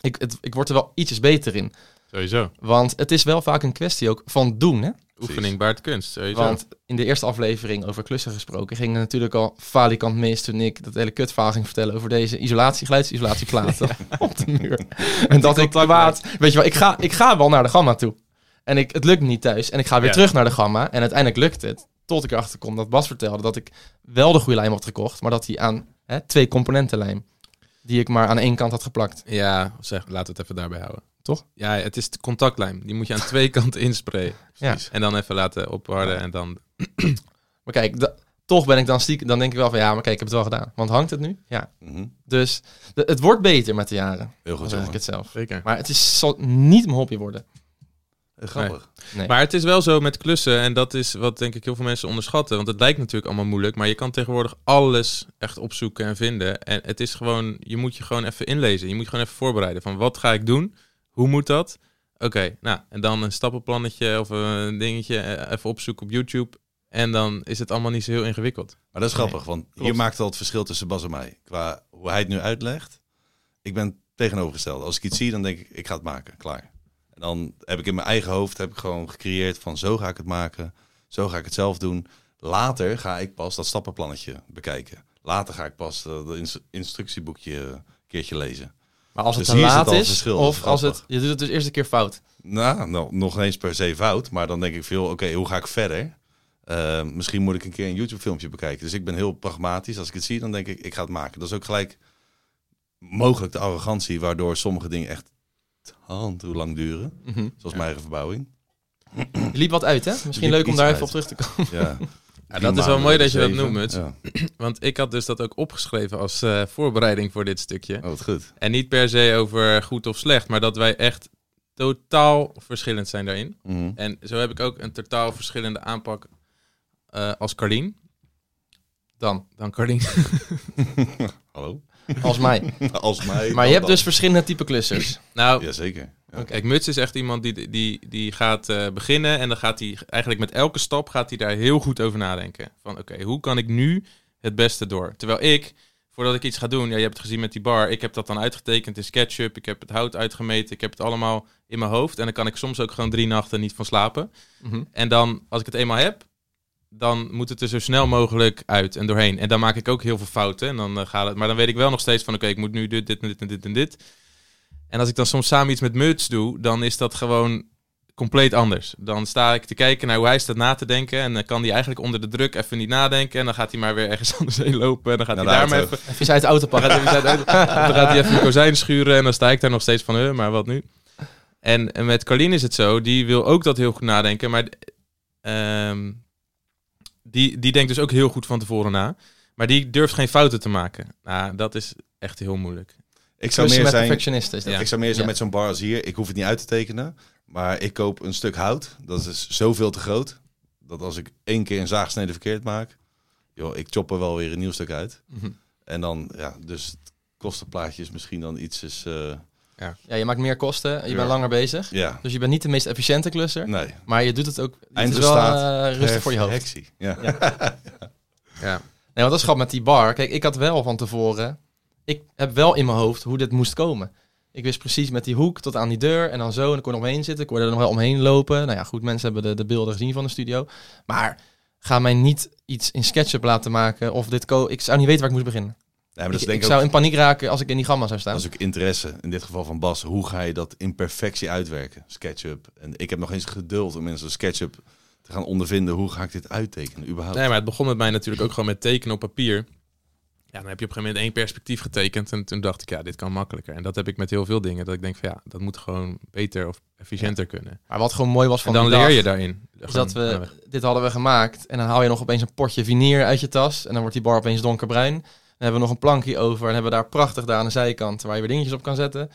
Speaker 1: Ik, het, ik word er wel ietsjes beter in.
Speaker 3: sowieso.
Speaker 1: Want het is wel vaak een kwestie ook van doen. Hè?
Speaker 3: Oefening baart kunst. Sowieso.
Speaker 1: Want in de eerste aflevering over klussen gesproken... ging er natuurlijk al falikant mis toen ik dat hele kutverhaal ging vertellen... over deze isolatie, geluidsisolatieplaten op de muur. En dat ik kwaad... Weet je wel, ik ga, ik ga wel naar de gamma toe. En ik, het lukt niet thuis. En ik ga weer
Speaker 3: Ja.
Speaker 1: terug naar de gamma. En uiteindelijk lukt het. Tot ik erachter kom dat Bas vertelde dat ik wel de goede lijm had gekocht... maar dat hij aan hè, twee componenten lijm... die ik maar aan één kant had geplakt.
Speaker 3: Ja, zeg, laten we het even daarbij houden.
Speaker 1: Toch?
Speaker 3: Ja, het is de contactlijm. Die moet je aan twee kanten insprayen.
Speaker 1: Ja.
Speaker 3: En dan even laten opwarden en dan...
Speaker 1: Maar kijk, da- toch ben ik dan stiekem... dan denk ik wel van ja, maar kijk, ik heb het wel gedaan. Want hangt het nu? Ja.
Speaker 2: Mhm.
Speaker 1: Dus de- het wordt beter met de jaren,
Speaker 2: Heel goed,
Speaker 1: als zeg ik
Speaker 2: jongen.
Speaker 1: het zelf.
Speaker 3: Zeker.
Speaker 1: Maar het is, zal niet mijn hobby worden.
Speaker 2: Eh, Grappig.
Speaker 3: Maar het is wel zo met klussen, en dat is wat denk ik heel veel mensen onderschatten. Want het lijkt natuurlijk allemaal moeilijk, maar je kan tegenwoordig alles echt opzoeken en vinden. En het is gewoon, je moet je gewoon even inlezen. Je moet je gewoon even voorbereiden van wat ga ik doen? Hoe moet dat? Oké, nou, en dan een stappenplannetje of een dingetje eh, even opzoeken op YouTube. En dan is het allemaal niet zo heel ingewikkeld.
Speaker 2: Maar dat is grappig, want hier
Speaker 1: klopt.
Speaker 2: maakt al het verschil tussen Bas en mij. Qua hoe hij het nu uitlegt. Ik ben tegenovergesteld. Als ik iets zie, dan denk ik, ik ga het maken. Klaar. En dan heb ik in mijn eigen hoofd heb ik gewoon gecreëerd van zo ga ik het maken, zo ga ik het zelf doen. Later ga ik pas dat stappenplannetje bekijken. Later ga ik pas eh, dat inst- instructieboekje eh, een keertje lezen.
Speaker 1: Maar als het
Speaker 2: Dus
Speaker 1: te
Speaker 2: hier zit
Speaker 1: laat
Speaker 2: al het
Speaker 1: is,
Speaker 2: verschil.
Speaker 1: of als
Speaker 2: Grappig.
Speaker 1: het, je doet het dus eerst een keer fout.
Speaker 2: Nou, nou, nog eens per se fout, maar dan denk ik veel, oké, hoe ga ik verder? Eh, misschien moet ik een keer een YouTube-filmpje bekijken. Dus ik ben heel pragmatisch. Als ik het zie, dan denk ik, ik ga het maken. Dat is ook gelijk mogelijk de arrogantie, waardoor sommige dingen echt hand hoe lang duren. Zoals mijn eigen verbouwing.
Speaker 1: Je liep wat uit, hè? Misschien
Speaker 2: Mhm. Liep
Speaker 1: leuk om
Speaker 2: iets
Speaker 1: daar
Speaker 2: uit.
Speaker 1: even op terug te komen.
Speaker 2: Ja,
Speaker 3: Ja, dat is wel mooi dat je dat noemt, Muts.
Speaker 2: Ja.
Speaker 3: Want ik had dus dat ook opgeschreven als eh, voorbereiding voor dit stukje.
Speaker 2: Oh, wat goed.
Speaker 3: En niet per se over goed of slecht, maar dat wij echt totaal verschillend zijn daarin.
Speaker 2: Mhm.
Speaker 3: En zo heb ik ook een totaal verschillende aanpak eh, als Carlien. Dan, dan Carlien.
Speaker 2: Hallo?
Speaker 1: Als mij.
Speaker 2: Als mij.
Speaker 1: Maar
Speaker 2: dan
Speaker 1: je hebt
Speaker 2: dan.
Speaker 1: dus verschillende type klussers.
Speaker 3: Nou,
Speaker 2: Jazeker. Ja.
Speaker 3: Kijk, Muts is echt iemand die, die, die gaat eh, beginnen en dan gaat hij eigenlijk met elke stap gaat hij daar heel goed over nadenken. Van oké, hoe kan ik nu het beste door? Terwijl ik, voordat ik iets ga doen, ja, je hebt het gezien met die bar, ik heb dat dan uitgetekend in SketchUp, ik heb het hout uitgemeten, ik heb het allemaal in mijn hoofd en dan kan ik soms ook gewoon drie nachten niet van slapen.
Speaker 1: Mhm.
Speaker 3: En dan, als ik het eenmaal heb, dan moet het er zo snel mogelijk uit en doorheen. En dan maak ik ook heel veel fouten. En dan eh, gaat het. Maar dan weet ik wel nog steeds van oké, ik moet nu dit, dit en dit en dit en dit. En als ik dan soms samen iets met Muts doe, dan is dat gewoon compleet anders. Dan sta ik te kijken naar hoe hij staat na te denken. En dan kan hij eigenlijk onder de druk even niet nadenken. En dan gaat hij maar weer ergens anders heen lopen. En dan gaat
Speaker 2: Naar
Speaker 3: hij
Speaker 2: de
Speaker 3: daar maar
Speaker 2: auto.
Speaker 3: even.
Speaker 1: Even uit de auto
Speaker 3: Dan
Speaker 1: pakken.
Speaker 3: gaat hij, dan gaat hij even de kozijn schuren. En dan sta ik daar nog steeds van, eh, maar wat nu? En, en met Carlien is het zo, die wil ook dat heel goed nadenken. Maar ehm, die, die denkt dus ook heel goed van tevoren na. Maar die durft geen fouten te maken. Nou, dat is echt heel moeilijk. Dus
Speaker 2: Ik zou
Speaker 1: Klussen
Speaker 2: meer
Speaker 1: met
Speaker 2: zijn...
Speaker 1: perfectionisten is dat.
Speaker 3: Ja.
Speaker 2: Ik zou meer zijn
Speaker 1: Ja.
Speaker 2: met zo'n bar als hier. Ik hoef het niet uit te tekenen. Maar ik koop een stuk hout. Dat is zoveel te groot. Dat als ik één keer een zaagsnede verkeerd maak. Joh, ik chop er wel weer een nieuw stuk uit.
Speaker 1: Mhm.
Speaker 2: En dan, ja, dus het kostenplaatje is misschien dan iets. Is, eh,
Speaker 1: Ja, je maakt meer kosten, je
Speaker 3: Ja.
Speaker 1: bent langer bezig.
Speaker 2: ja,
Speaker 1: Dus je bent niet de meest efficiënte klusser.
Speaker 2: nee.
Speaker 1: Maar je doet het ook het is wel
Speaker 2: Eindresultaat.
Speaker 1: eh, rustig voor je hoofd.
Speaker 2: Perfectie. Ja.
Speaker 3: Ja.
Speaker 1: Nee, want dat is grappig met die bar. Kijk, ik had wel van tevoren... Ik heb wel in mijn hoofd hoe dit moest komen. Ik wist precies met die hoek tot aan die deur en dan zo. En dan kon ik er omheen zitten. Ik kon er nog wel omheen lopen. Nou ja, goed, mensen hebben de, de beelden gezien van de studio. Maar ga mij niet iets in SketchUp laten maken of dit... Co ik zou niet weten waar ik moest beginnen.
Speaker 2: Nee, maar dat
Speaker 1: Ik,
Speaker 2: is denk
Speaker 1: ik
Speaker 2: ik ook,
Speaker 1: zou in paniek raken als ik in die gamma zou staan.
Speaker 2: dat is ook interesse. In dit geval van Bas. Hoe ga je dat in perfectie uitwerken? SketchUp. En ik heb nog eens geduld om mensen SketchUp te gaan ondervinden. Hoe ga ik dit uittekenen überhaupt?
Speaker 3: Nee, maar het begon met mij natuurlijk ook gewoon met tekenen op papier. Ja, dan heb je op een gegeven moment één perspectief getekend. En toen dacht ik, ja, dit kan makkelijker. En dat heb ik met heel veel dingen. Dat ik denk van, ja, dat moet gewoon beter of efficiënter kunnen.
Speaker 1: Maar wat gewoon mooi was
Speaker 3: En
Speaker 1: van
Speaker 3: dan
Speaker 1: die dag,
Speaker 3: leer je daarin.
Speaker 1: is
Speaker 3: Gewoon,
Speaker 1: Dus dat
Speaker 3: ja,
Speaker 1: we, dit hadden we gemaakt. En dan haal je nog opeens een potje vinier uit je tas. En dan wordt die bar opeens donkerbruin. Dan hebben we nog een plankje over. En hebben we daar prachtig daar aan de zijkant waar je weer dingetjes op kan zetten.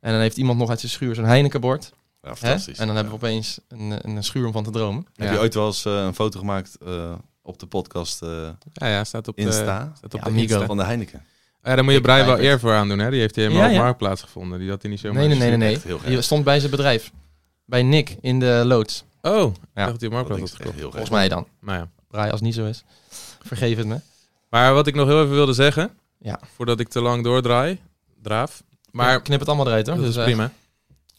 Speaker 1: En dan heeft iemand nog uit zijn schuur zo'n Heinekenbord.
Speaker 2: Ja,
Speaker 1: Hè? En dan hebben we opeens een, een schuur om van te dromen.
Speaker 2: Heb je ooit wel eens eh, een foto gemaakt eh, op de podcast eh,
Speaker 3: ja, ja, staat op de,
Speaker 2: Insta
Speaker 3: staat op
Speaker 1: Ja,
Speaker 3: de
Speaker 1: Amigo.
Speaker 3: Insta.
Speaker 2: van de Heineken?
Speaker 3: Ah, ja, daar moet je Brian wel
Speaker 1: Blijkbaar.
Speaker 3: eer voor aan doen, hè. Die heeft hij helemaal
Speaker 1: Ja,
Speaker 3: op
Speaker 1: ja.
Speaker 3: Marktplaats gevonden. Die had hij niet zomaar
Speaker 1: Nee, nee, nee, nee. nee.
Speaker 2: Echt heel gek.
Speaker 1: Die stond bij zijn bedrijf. Bij Nick in de loods.
Speaker 3: gestuurd. Oh,
Speaker 1: Ja.
Speaker 3: ja. dacht hij op
Speaker 2: Dat
Speaker 3: Marktplaats
Speaker 2: is
Speaker 3: had
Speaker 2: echt
Speaker 3: gekocht.
Speaker 2: heel gek.
Speaker 1: Volgens mij dan.
Speaker 3: Nou ja.
Speaker 1: Braai als het niet zo is. Vergeef het me.
Speaker 3: Maar wat ik nog heel even wilde zeggen.
Speaker 1: Ja.
Speaker 3: Voordat ik te lang doordraai. Draaf. Maar
Speaker 1: Ik knip het allemaal eruit hoor.
Speaker 3: dat
Speaker 1: Dus,
Speaker 3: is
Speaker 1: eh,
Speaker 3: prima.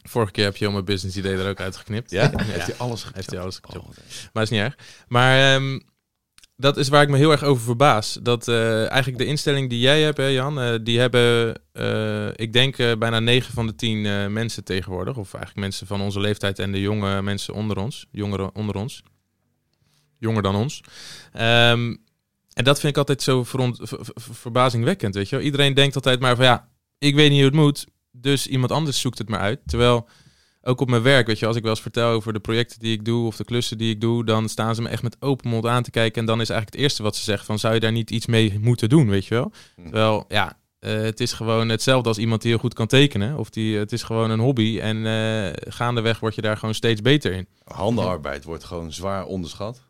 Speaker 3: Vorige keer heb je heel mijn business idee er ook uitgeknipt.
Speaker 2: Ja? Heeft hij alles
Speaker 3: Heeft
Speaker 2: geknipt?
Speaker 3: hij alles gechopt.
Speaker 2: Oh, wat erg.
Speaker 3: Maar is niet erg. Maar ehm, dat is waar ik me heel erg over verbaas. Dat eh, eigenlijk de instelling die jij hebt, hè, Jan, eh, die hebben, eh, ik denk, eh, bijna 9 van de 10 eh, mensen tegenwoordig. Of eigenlijk mensen van onze leeftijd en de jonge mensen onder ons. Jongeren onder ons. Jonger dan ons. Ehm, en dat vind ik altijd zo veront- ver- ver- verbazingwekkend, weet je wel. Iedereen denkt altijd maar van ja, ik weet niet hoe het moet, dus iemand anders zoekt het maar uit. Terwijl ook op mijn werk, weet je, als ik wel eens vertel over de projecten die ik doe of de klussen die ik doe, dan staan ze me echt met open mond aan te kijken. En dan is eigenlijk het eerste wat ze zeggen van, zou je daar niet iets mee moeten doen, weet je wel?
Speaker 2: Hm.
Speaker 3: Terwijl, ja, eh, het is gewoon hetzelfde als iemand die heel goed kan tekenen. Of die, het is gewoon een hobby en eh, gaandeweg word je daar gewoon steeds beter in.
Speaker 2: Handenarbeid wordt gewoon zwaar onderschat.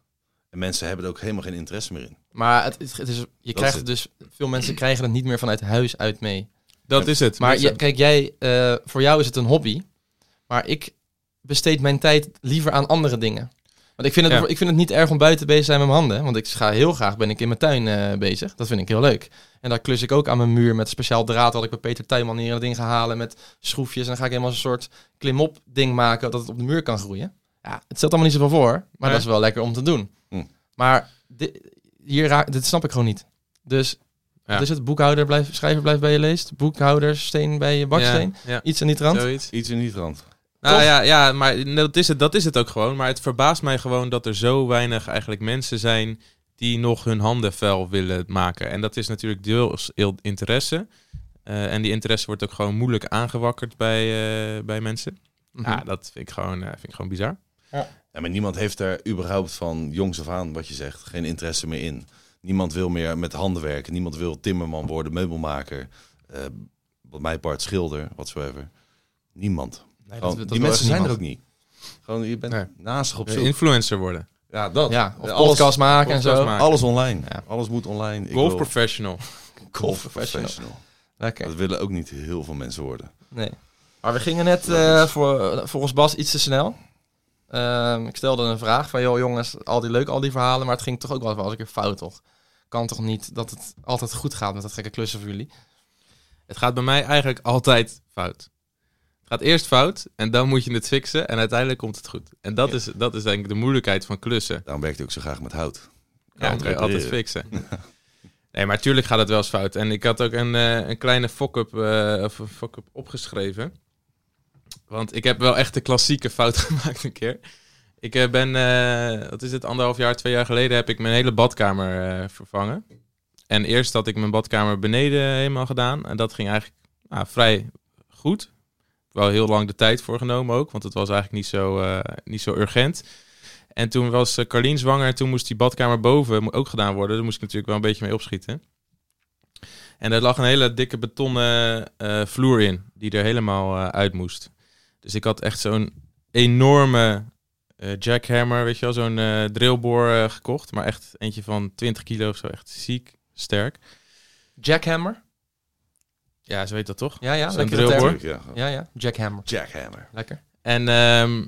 Speaker 2: En mensen hebben er ook helemaal geen interesse meer in.
Speaker 1: Maar het, het- het is, je krijgt
Speaker 2: is
Speaker 1: het dus, veel mensen krijgen het niet meer vanuit huis uit mee.
Speaker 3: Dat is het.
Speaker 1: Maar
Speaker 3: Dat is
Speaker 1: je,
Speaker 3: het.
Speaker 1: kijk, jij, eh, voor jou is het een hobby. Maar ik besteed mijn tijd liever aan andere dingen. Want ik vind, het,
Speaker 3: Ja.
Speaker 1: ik vind het niet erg om buiten bezig te zijn met mijn handen. Want ik ga heel graag ben ik in mijn tuin eh, bezig. Dat vind ik heel leuk. En daar klus ik ook aan mijn muur met speciaal draad. Wat ik bij Peter Tuinman hier dat ding ga halen met schroefjes. En dan ga ik helemaal een soort klimop ding maken. Dat het op de muur kan groeien. Ja, het stelt allemaal niet zoveel voor. Maar
Speaker 3: Nee.
Speaker 1: dat is wel lekker om te doen.
Speaker 2: Hm.
Speaker 1: Maar di- hier raak, dit snap ik gewoon niet. Dus,
Speaker 3: Ja.
Speaker 1: dus het boekhouder blijft, schrijver blijft bij je leest. Boekhouder, steen bij je baksteen.
Speaker 3: Ja,
Speaker 1: Iets aan die
Speaker 3: ja.
Speaker 1: trant.
Speaker 3: zoiets.
Speaker 2: Iets in die trant.
Speaker 3: Nou
Speaker 1: Toch?
Speaker 3: ja, ja maar dat is, het, dat is het ook gewoon. Maar het verbaast mij gewoon dat er zo weinig eigenlijk mensen zijn die nog hun handen vuil willen maken. En dat is natuurlijk deels heel interesse. Eh, en die interesse wordt ook gewoon moeilijk aangewakkerd bij, eh, bij mensen.
Speaker 1: Mhm.
Speaker 3: Ja, dat vind ik gewoon, eh, vind ik gewoon bizar.
Speaker 2: Ja, maar niemand heeft er überhaupt van jongs af aan, wat je zegt, geen interesse meer in. Niemand wil meer met handen werken. Niemand wil timmerman worden, meubelmaker. eh, wat mij part schilder, whatsoever. Niemand.
Speaker 1: Nee,
Speaker 2: Gewoon,
Speaker 1: dat- dat
Speaker 2: die
Speaker 1: wil
Speaker 2: mensen
Speaker 1: echt
Speaker 2: zijn er
Speaker 1: niemand.
Speaker 2: ook niet. Gewoon, je bent
Speaker 3: Nee.
Speaker 2: naastig op zoek.
Speaker 3: Influencer worden.
Speaker 2: ja, dat.
Speaker 1: Ja, of
Speaker 2: alles,
Speaker 1: podcast maken en
Speaker 3: podcast
Speaker 1: zo.
Speaker 3: maken.
Speaker 2: alles online.
Speaker 1: Ja.
Speaker 2: Alles moet online. Ik
Speaker 3: Golf
Speaker 2: wil-
Speaker 3: professional.
Speaker 2: golf professional.
Speaker 1: Lekker.
Speaker 2: Dat willen ook niet heel veel mensen worden.
Speaker 1: Nee. Maar we gingen net eh, voor, volgens Bas iets te snel. Ehm, ik stelde een vraag van, joh jongens, al die leuk, al die verhalen, maar het ging toch ook wel eens een keer fout, toch? Kan toch niet dat het altijd goed gaat met dat gekke klussen voor jullie?
Speaker 3: Het gaat bij mij eigenlijk altijd fout. Het gaat eerst fout en dan moet je het fixen en uiteindelijk komt het goed. En dat, is, dat is denk ik de moeilijkheid van klussen.
Speaker 2: Daarom werkt hij ook zo graag met hout.
Speaker 3: Ja, dat kan je altijd
Speaker 2: repareren.
Speaker 3: fixen. Nee, maar tuurlijk gaat het wel eens fout. En ik had ook een, eh, een kleine fuck-up eh, of een fuck-up opgeschreven. Want ik heb wel echt de klassieke fout gemaakt een keer. Ik eh, ben, eh, wat is het, anderhalf jaar, twee jaar geleden heb ik mijn hele badkamer eh, vervangen. En eerst had ik mijn badkamer beneden helemaal gedaan. En dat ging eigenlijk nou, vrij goed. Ik heb wel heel lang de tijd voor genomen ook, want het was eigenlijk niet zo, eh, niet zo urgent. En toen was eh, Carlien zwanger en toen moest die badkamer boven mo- ook gedaan worden. Daar moest ik natuurlijk wel een beetje mee opschieten. En er lag een hele dikke betonnen eh, vloer in, die er helemaal eh, uit moest. Dus ik had echt zo'n enorme eh, jackhammer, weet je wel, zo'n eh, drillboor eh, gekocht. Maar echt eentje van 20 kilo of zo, echt ziek sterk.
Speaker 1: Jackhammer?
Speaker 3: Ja, ze weet dat toch?
Speaker 1: Ja, ja,
Speaker 3: Zo'n
Speaker 1: lekker
Speaker 3: drill,
Speaker 1: term.
Speaker 3: hoor.
Speaker 2: Tuurlijk, ja.
Speaker 1: Ja, ja, jackhammer.
Speaker 2: Jackhammer.
Speaker 1: Lekker.
Speaker 3: En ehm,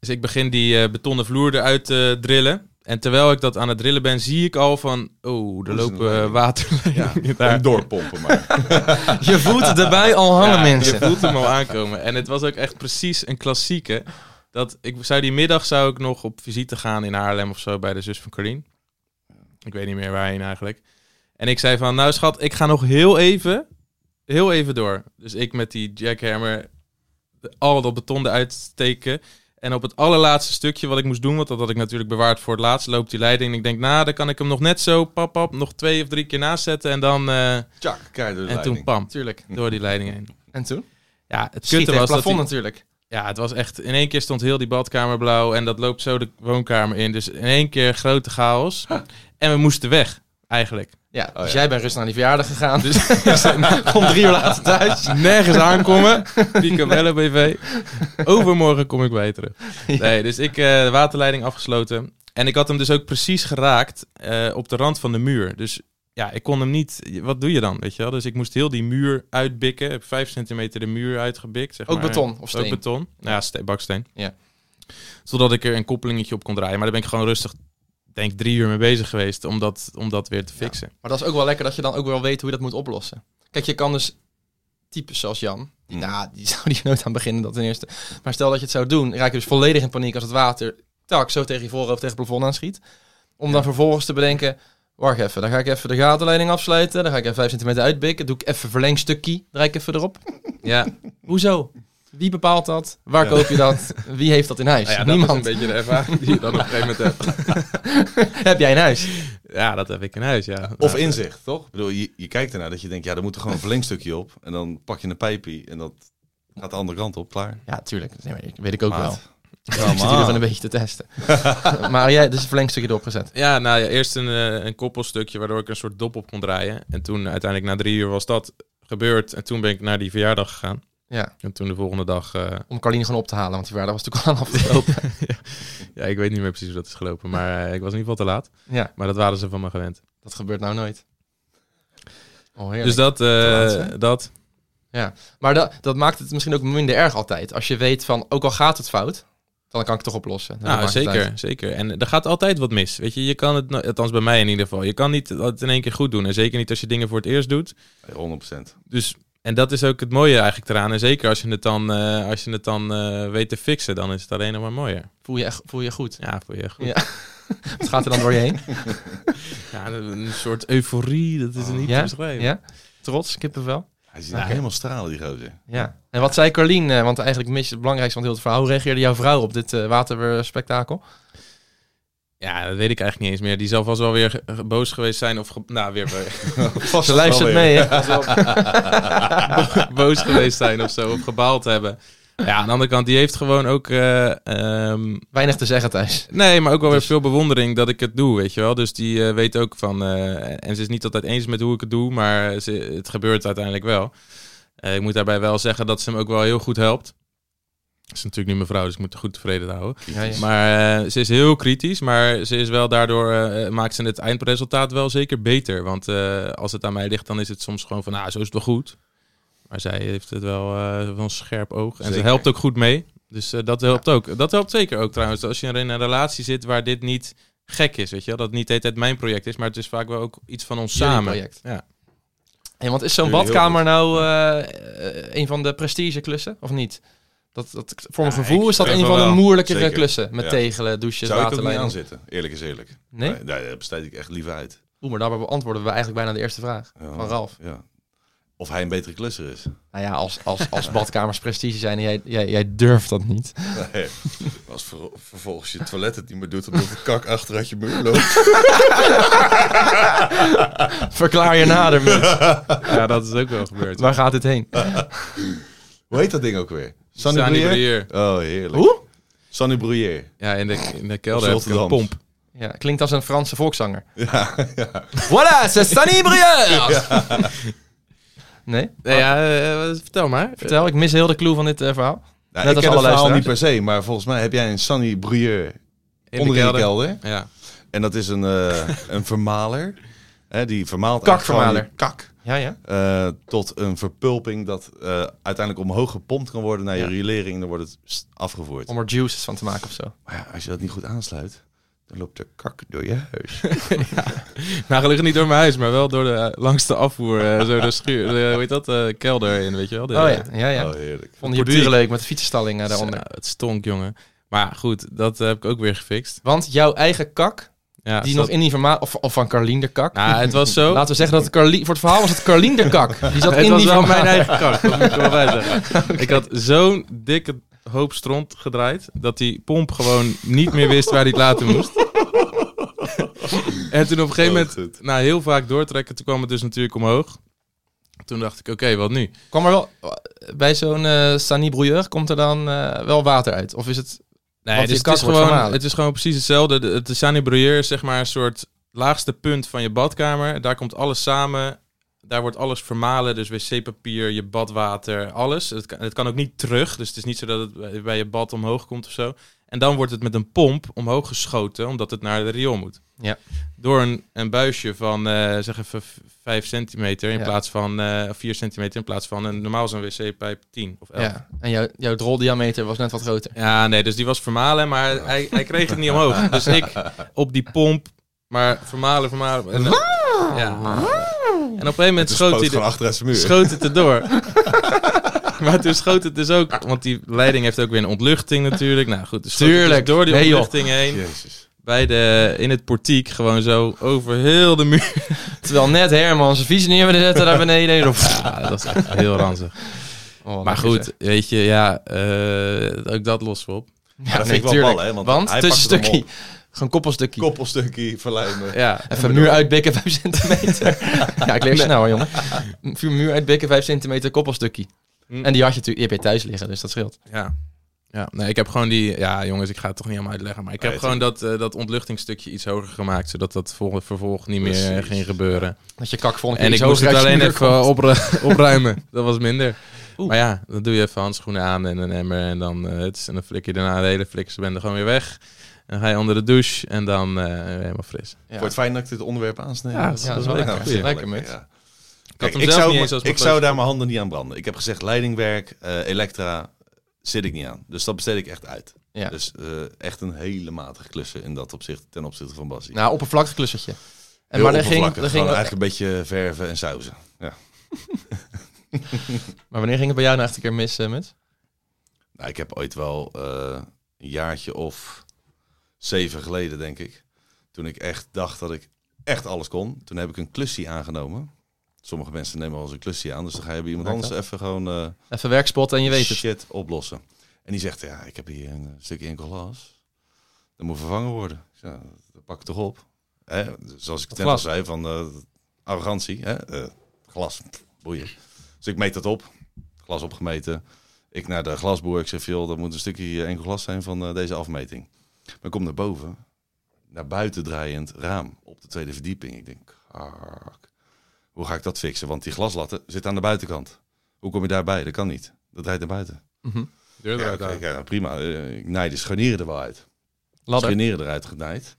Speaker 3: dus ik begin die eh, betonnen vloer eruit te drillen. En terwijl ik dat aan het drillen ben, zie ik al van... Oh, er
Speaker 2: Dat is
Speaker 3: lopen
Speaker 2: een-
Speaker 3: eh, waterleidingen daar.
Speaker 2: En doorpompen maar.
Speaker 1: Je voelt erbij al hangen,
Speaker 3: Ja,
Speaker 1: mensen.
Speaker 3: Je voelt hem al aankomen. En het was ook echt precies een klassieke. Dat ik zou die middag zou ik nog op visite gaan in Haarlem of zo bij de zus van Corine. Ik weet niet meer waarheen eigenlijk. En ik zei van, nou schat, ik ga nog heel even, heel even door. Dus ik met die jackhammer de- al dat beton eruit steken. En op het allerlaatste stukje wat ik moest doen, want dat had ik natuurlijk bewaard voor het laatst, loopt die leiding. En ik denk, nou, dan kan ik hem nog net zo, pap, pap, nog twee of drie keer naast zetten. En dan, eh,
Speaker 2: Tjak, kei door de
Speaker 3: en toen
Speaker 2: leiding.
Speaker 3: pam,
Speaker 1: Tuurlijk.
Speaker 3: door die leiding heen.
Speaker 1: En toen?
Speaker 3: Ja,
Speaker 1: Schiet
Speaker 3: het kutte
Speaker 1: tegen het
Speaker 3: was dat
Speaker 1: plafond
Speaker 3: die-
Speaker 1: natuurlijk.
Speaker 3: ja, het was echt... In één keer stond heel die badkamer blauw en dat loopt zo de woonkamer in. Dus in één keer grote chaos. En we moesten weg, eigenlijk.
Speaker 1: Ja,
Speaker 2: ja.
Speaker 1: dus jij bent rustig naar die verjaardag gegaan. Dus kom drie uur later thuis.
Speaker 3: Nergens aankomen. Picabello BV. Overmorgen kom ik bij je terug. Nee, dus ik eh, de waterleiding afgesloten. En ik had hem dus ook precies geraakt eh, op de rand van de muur. Dus ja, ik kon hem niet... Wat doe je dan, weet je wel? Dus ik moest heel die muur uitbikken. Ik heb vijf centimeter de muur uitgebikt, zeg
Speaker 1: Ook
Speaker 3: maar.
Speaker 1: beton of
Speaker 3: Ook
Speaker 1: steen.
Speaker 3: beton. Nou ja, ste- baksteen.
Speaker 1: Ja.
Speaker 3: Zodat ik er een koppelingetje op kon draaien. Maar daar ben ik gewoon rustig, denk drie uur mee bezig geweest om dat, om dat weer te
Speaker 1: Ja.
Speaker 3: fixen.
Speaker 1: Maar dat is ook wel lekker dat je dan ook wel weet hoe je dat moet oplossen. Kijk, je kan dus types zoals Jan. Die,
Speaker 2: Mm.
Speaker 1: Nou, die zou die nooit aan beginnen, dat ten eerste. Maar stel dat je het zou doen, raak je dus volledig in paniek als het water tak zo tegen je voorhoofd, tegen het plafond aanschiet. Om dan vervolgens te bedenken, wacht even, dan ga ik even de gatenleiding afsluiten. Dan ga ik even 5 centimeter uitbikken. Doe ik even verlengstukje, draai ik even erop.
Speaker 3: Ja,
Speaker 1: Hoezo? Wie bepaalt dat? Waar koop je dat? Wie heeft dat in huis?
Speaker 3: Nou ja, dat is een
Speaker 1: Niemand.
Speaker 3: beetje de ervaring die je dan op een gegeven moment hebt.
Speaker 1: Heb jij in huis?
Speaker 3: Ja, dat heb ik in huis, ja.
Speaker 2: Of
Speaker 3: Ja,
Speaker 2: inzicht, toch? Ik bedoel, je, je kijkt ernaar dat je denkt, ja, daar moet er gewoon een verlengstukje op. En dan pak je een pijpie en dat gaat de andere kant op, klaar.
Speaker 1: Ja, tuurlijk. Nee, maar ik- weet ik ook
Speaker 2: Maat.
Speaker 1: wel.
Speaker 2: Ja,
Speaker 1: Ik zit hier van een beetje te testen. maar jij, dus een verlengstukje erop gezet.
Speaker 3: Ja, nou ja, eerst een, eh, een koppelstukje waardoor ik een soort dop op kon draaien. En toen eh, uiteindelijk na drie uur was dat gebeurd. En toen ben ik naar die verjaardag gegaan.
Speaker 1: Ja,
Speaker 3: En toen de volgende dag... eh,
Speaker 1: om Carline gewoon op te halen, want die waarde was natuurlijk al aan afgelopen.
Speaker 3: ja, ik weet niet meer precies hoe dat is gelopen. Maar eh, ik was in ieder geval te laat.
Speaker 1: ja,
Speaker 3: Maar dat waren ze van me gewend.
Speaker 1: dat gebeurt nou nooit. Oh, heerlijk.
Speaker 3: Dus dat... eh,
Speaker 1: Te laat, hè?
Speaker 3: dat
Speaker 1: maar dat dat maakt het misschien ook minder erg altijd. Als je weet van, ook al gaat het fout, Dan kan ik het toch oplossen. Dan
Speaker 3: Nou,
Speaker 1: maakt het
Speaker 3: zeker,
Speaker 1: uit.
Speaker 3: zeker. En er gaat altijd wat mis. Weet je, je kan het, no- althans bij mij in ieder geval, je kan niet het in één keer goed doen. En zeker niet als je dingen voor het eerst doet.
Speaker 2: 100%.
Speaker 3: Dus, en dat is ook het mooie eigenlijk eraan. En zeker als je het dan, eh, als je het dan eh, weet te fixen, dan is het alleen nog maar mooier.
Speaker 1: Voel je, echt, voel je goed.
Speaker 3: Ja, voor je goed.
Speaker 1: Ja. Wat gaat er dan door je heen?
Speaker 3: Ja, een soort euforie, dat is niet
Speaker 1: Ja?
Speaker 3: te beschrijven.
Speaker 1: Ja? Trots, kippenvel.
Speaker 2: Hij ziet er helemaal stralen, die gozer.
Speaker 1: Ja. En wat zei Carlien, eh, want eigenlijk mis je het belangrijkste van heel het verhaal. Hoe reageerde jouw vrouw op dit eh waterspektakel?
Speaker 3: Ja, dat weet ik eigenlijk niet eens meer. Die zal vast wel weer ge- boos geweest zijn of... ge- Nou, weer bo-
Speaker 2: Vast
Speaker 1: Ze luistert
Speaker 2: wel
Speaker 1: mee,
Speaker 2: weer.
Speaker 1: hè?
Speaker 3: boos geweest zijn of zo, of gebaald hebben. Ja, aan de andere kant, die heeft gewoon ook... eh, ehm,
Speaker 1: Weinig te zeggen, Thijs.
Speaker 3: Nee, maar ook wel weer veel bewondering dat ik het doe, weet je wel. Dus die eh, weet ook van... eh, en ze is niet altijd eens met hoe ik het doe, maar ze, het gebeurt uiteindelijk wel. Eh, ik moet daarbij wel zeggen dat ze hem ook wel heel goed helpt. Ze is natuurlijk nu mijn vrouw, dus ik moet het goed tevreden houden.
Speaker 1: Ja, ja.
Speaker 3: Maar eh, ze is heel kritisch, maar ze is wel daardoor eh, maakt ze het eindresultaat wel zeker beter. Want eh, als het aan mij ligt, dan is het soms gewoon van, nou, zo is het wel goed. Maar zij heeft het wel, eh, wel een scherp oog. En ze
Speaker 2: Zeker.
Speaker 3: helpt ook goed mee. Dus eh, dat helpt ook. Dat helpt zeker ook trouwens. Als je in een relatie zit waar dit niet gek is, weet je wel. Dat het niet de hele tijd mijn project is, maar het is vaak wel ook iets van ons
Speaker 1: Jullie
Speaker 3: samen.
Speaker 1: project.
Speaker 3: Ja.
Speaker 1: Hey, want is zo'n
Speaker 2: Jullie heel
Speaker 1: badkamer nou eh, eh, een van de prestigeklussen, of niet? Dat, dat, voor mijn
Speaker 2: Ja,
Speaker 1: gevoel
Speaker 2: ik
Speaker 1: is dat
Speaker 3: denk
Speaker 1: een
Speaker 3: wel
Speaker 1: van de
Speaker 3: wel.
Speaker 1: moeilijkere
Speaker 2: Zeker.
Speaker 1: klussen. Met
Speaker 2: Ja.
Speaker 1: tegelen, douches,
Speaker 2: Zou ik ook niet
Speaker 1: waterlijnen.
Speaker 2: aanzitten, eerlijk is eerlijk.
Speaker 1: Nee?
Speaker 2: Nee, daar besteed ik echt liever uit.
Speaker 1: Oeh, maar daarbij beantwoorden we eigenlijk bijna de eerste vraag
Speaker 2: Ja.
Speaker 1: van Ralf.
Speaker 2: Ja. Of hij een betere klusser is.
Speaker 1: Nou ja, als, als, als badkamers prestige zijn en jij, jij, jij durft dat niet.
Speaker 2: Nee. Als ver- vervolgens je toilet het niet meer doet, omdat de kak achter uit je muur loopt.
Speaker 1: Verklaar je nader, mens.
Speaker 3: ja, dat is ook wel gebeurd.
Speaker 1: Waar gaat dit heen?
Speaker 2: Hoe heet dat ding ook weer?
Speaker 3: Sani Breuer.
Speaker 2: Oh, heerlijk.
Speaker 1: Hoe?
Speaker 2: Sonny Bruyère.
Speaker 3: Ja, in de, in de kelder
Speaker 2: Op
Speaker 3: heb ik een
Speaker 2: Rotterdam.
Speaker 3: pomp.
Speaker 1: Ja, klinkt als een Franse volkszanger.
Speaker 2: Ja, ja.
Speaker 1: Voilà, c'est Sunny Brière! Nee?
Speaker 3: Nee, ja, eh, vertel maar.
Speaker 1: Vertel, ik mis heel de clue van dit eh, verhaal.
Speaker 2: Nou,
Speaker 1: Net
Speaker 2: ik
Speaker 1: als alle
Speaker 2: ken het verhaal
Speaker 1: luisteraars.
Speaker 2: niet per se, maar volgens mij heb jij een Sonny Bruyère
Speaker 3: In de
Speaker 2: onder in de kelder.
Speaker 3: Ja.
Speaker 2: En dat is een, eh, een vermaler. Hè, die vermaalt
Speaker 1: Kakvermaler.
Speaker 2: eigenlijk gewoon je Kak.
Speaker 1: Ja, ja.
Speaker 2: eh, tot een verpulping dat eh, uiteindelijk omhoog gepompt kan worden naar je
Speaker 1: Ja.
Speaker 2: riolering. En dan wordt het pst, afgevoerd.
Speaker 1: Om er juices van te maken of zo.
Speaker 2: Maar ja, als je dat niet goed aansluit, dan loopt er kak door je huis.
Speaker 3: Nou, gelukkig niet door mijn huis, maar wel door de eh, langs de afvoer, eh, zo de schuur, de, hoe heet dat, eh, kelder in, weet je wel. De,
Speaker 1: Oh ja, ja, ja.
Speaker 2: Oh, heerlijk.
Speaker 1: Vonden je buren leuk met de fietsenstalling eh,
Speaker 3: Ja,
Speaker 1: daaronder.
Speaker 3: het stonk, jongen. Maar goed, dat eh, heb ik ook weer gefixt.
Speaker 1: Want jouw eigen kak,
Speaker 3: Ja,
Speaker 1: die
Speaker 3: zat-
Speaker 1: nog in die vermaal... Of, of van Carlien de kak.
Speaker 3: Nou, het was zo...
Speaker 1: Laten we zeggen dat het Carlien... Voor het verhaal was het Carlien de kak. Die zat
Speaker 3: het
Speaker 1: in
Speaker 3: was
Speaker 1: die
Speaker 3: wel mijn
Speaker 1: vermaal.
Speaker 3: eigen kak, dat moet ik er wel bij zeggen. Ik had zo'n dikke hoop stront gedraaid, dat die pomp gewoon niet meer wist waar hij het laten moest. en toen op een gegeven
Speaker 2: Oh,
Speaker 3: moment,
Speaker 2: goed.
Speaker 3: nou heel vaak doortrekken, toen kwam het dus natuurlijk omhoog. Toen dacht ik, oké, wat nu?
Speaker 1: Kwam er wel... Bij zo'n eh Sani Brouilleur komt er dan eh, wel water uit? Of is het...
Speaker 3: Nee,
Speaker 1: Want
Speaker 3: dus
Speaker 1: je
Speaker 3: het
Speaker 1: kak
Speaker 3: is,
Speaker 1: wordt
Speaker 3: gewoon,
Speaker 1: vermalen.
Speaker 3: het is gewoon precies hetzelfde. De, de Sani Breuer is zeg maar een soort laagste punt van je badkamer. Daar komt alles samen. Daar wordt alles vermalen. Dus wc-papier, je badwater, alles. Het kan, het kan ook niet terug. Dus het is niet zo dat het bij- bij je bad omhoog komt of zo. En dan wordt het met een pomp omhoog geschoten, omdat het naar de riool moet.
Speaker 1: Ja.
Speaker 3: Door een, een buisje van, eh, zeg even, 5 centimeter in
Speaker 1: Ja.
Speaker 3: plaats van, eh 4 centimeter in plaats van, een, normaal is een wc-pijp 10 of 11.
Speaker 1: Ja. En jouw, jouw droldiameter was net wat groter.
Speaker 3: Ja, nee, dus die was vermalen, maar hij, hij kreeg het niet omhoog. Dus ik op die pomp, maar vermalen, vermalen. En, ja. en op een gegeven moment
Speaker 2: Het
Speaker 3: schoot
Speaker 2: schoot
Speaker 3: hij,
Speaker 2: Dus gewoon
Speaker 3: de,
Speaker 2: achter uit zijn muur.
Speaker 3: schoot het erdoor. maar toen schoot het dus ook, want die leiding heeft ook weer een ontluchting natuurlijk. Nou goed, dus schoot het dus
Speaker 1: Tuurlijk.
Speaker 3: door die
Speaker 1: Nee, joh.
Speaker 3: ontluchting heen,
Speaker 2: Jezus.
Speaker 3: bij de, in het portiek, gewoon zo over heel de muur.
Speaker 1: Terwijl net Herman zijn fiets neer wilde zetten daar beneden.
Speaker 3: Ja, dat was echt heel ranzig.
Speaker 1: Oh, wat
Speaker 3: Maar
Speaker 1: lekker
Speaker 3: goed,
Speaker 1: zeg.
Speaker 3: weet je, ja, eh, ook dat los op.
Speaker 1: Ja,
Speaker 2: dat vind ik wel
Speaker 1: tuurlijk.
Speaker 2: ballen, hè, want hij
Speaker 1: Want
Speaker 2: pakt het
Speaker 1: tussenstukje.
Speaker 2: hem
Speaker 1: Gewoon koppelstukje.
Speaker 2: Koppelstukje, verlijmen.
Speaker 3: Ja,
Speaker 1: Even muur uitbikken, 5 centimeter. ja, ik leer snel, jongen. Vuur muur uitbikken, 5 centimeter koppelstukkie.
Speaker 2: Hm.
Speaker 3: Mm.
Speaker 1: En die had je natuurlijk je hebt je thuis liggen, dus dat scheelt.
Speaker 3: Ja. Ja, nee, ik heb gewoon die... Ja, jongens, ik ga het toch niet helemaal uitleggen. Maar ik heb
Speaker 2: Nee,
Speaker 3: gewoon dat, eh, dat ontluchtingstukje iets hoger gemaakt. Zodat dat vol- vervolg niet meer eh,
Speaker 2: Precies.
Speaker 3: ging gebeuren.
Speaker 1: Dat je kak volgende keer
Speaker 3: en ik
Speaker 1: iets
Speaker 3: moest het
Speaker 1: hoger uit je
Speaker 3: alleen
Speaker 1: muur
Speaker 3: even eh,
Speaker 1: komt.
Speaker 3: opru- opruimen. Dat was minder.
Speaker 1: Oeh.
Speaker 3: Maar ja, dan doe je even handschoenen aan en een emmer. En dan, eh, het is, en dan flik je daarna de hele flikkersbende gewoon weer weg. En dan ga je onder de douche en dan eh, weer helemaal fris.
Speaker 1: Ja.
Speaker 2: Wordt het fijn dat ik dit onderwerp aansneed?
Speaker 3: Ja, dat is-
Speaker 1: Ja, dat is
Speaker 3: wel
Speaker 1: wel
Speaker 3: lekker.
Speaker 1: lekker.
Speaker 2: vind ik
Speaker 1: Lekker,
Speaker 2: wel
Speaker 1: mens.
Speaker 2: ja.
Speaker 3: Ik had
Speaker 2: Kijk,
Speaker 3: hem
Speaker 2: ik
Speaker 3: zelf
Speaker 2: zou,
Speaker 3: niet eens als
Speaker 2: ik
Speaker 3: mijn
Speaker 2: zou daar mijn handen niet aan branden. Ik heb gezegd leidingwerk, eh, elektra, zit ik niet aan. Dus dat besteed ik echt uit.
Speaker 1: Ja.
Speaker 2: Dus eh, echt een hele matige klussen in dat opzicht, ten opzichte van Bassie.
Speaker 1: Nou, oppervlakkig klussertje. En,
Speaker 2: Heel
Speaker 1: maar er ging,
Speaker 2: oppervlakkig,
Speaker 1: er ging,
Speaker 2: gewoon eigenlijk een beetje verven en sauzen. Ja.
Speaker 1: maar wanneer ging het bij jou nou echt een keer mis, eh, Muts?
Speaker 2: Nou, ik heb ooit wel eh, een jaartje of zeven geleden, denk ik. Toen ik echt dacht dat ik echt alles kon. Toen heb ik een klusje aangenomen. Sommige mensen nemen wel eens een klusje aan. Dus dan ga je bij iemand
Speaker 1: Werkt
Speaker 2: anders even gewoon eh,
Speaker 1: Even werkspot en je weet het.
Speaker 2: shit oplossen. En die zegt, ja, ik heb hier een stukje enkel glas. Dat moet vervangen worden. Ik zeg, "Nou, dat pak ik toch op. Hè? Zoals ik net al
Speaker 1: glas.
Speaker 2: zei, van eh, arrogantie. Hè? Eh, glas, pff, boeien. Dus ik meet dat op. Glas opgemeten. Ik naar de glasboer. Ik zeg, joh, dat moet een stukje enkel glas zijn van eh, deze afmeting. Maar ik kom naar boven. Naar buiten draaiend raam. Op de tweede verdieping. Ik denk, "Kak, hoe ga ik dat fixen? Want die glaslatten zitten aan de buitenkant. Hoe kom je daarbij? Dat kan niet. Dat draait naar buiten.
Speaker 1: Mhm.
Speaker 3: Deur
Speaker 2: Ja,
Speaker 3: eruit
Speaker 2: kijk,
Speaker 3: halen.
Speaker 2: ja, prima. Eh, Ik naai de scharnieren er wel uit.
Speaker 1: Ladder.
Speaker 2: Scharnieren eruit genaaid.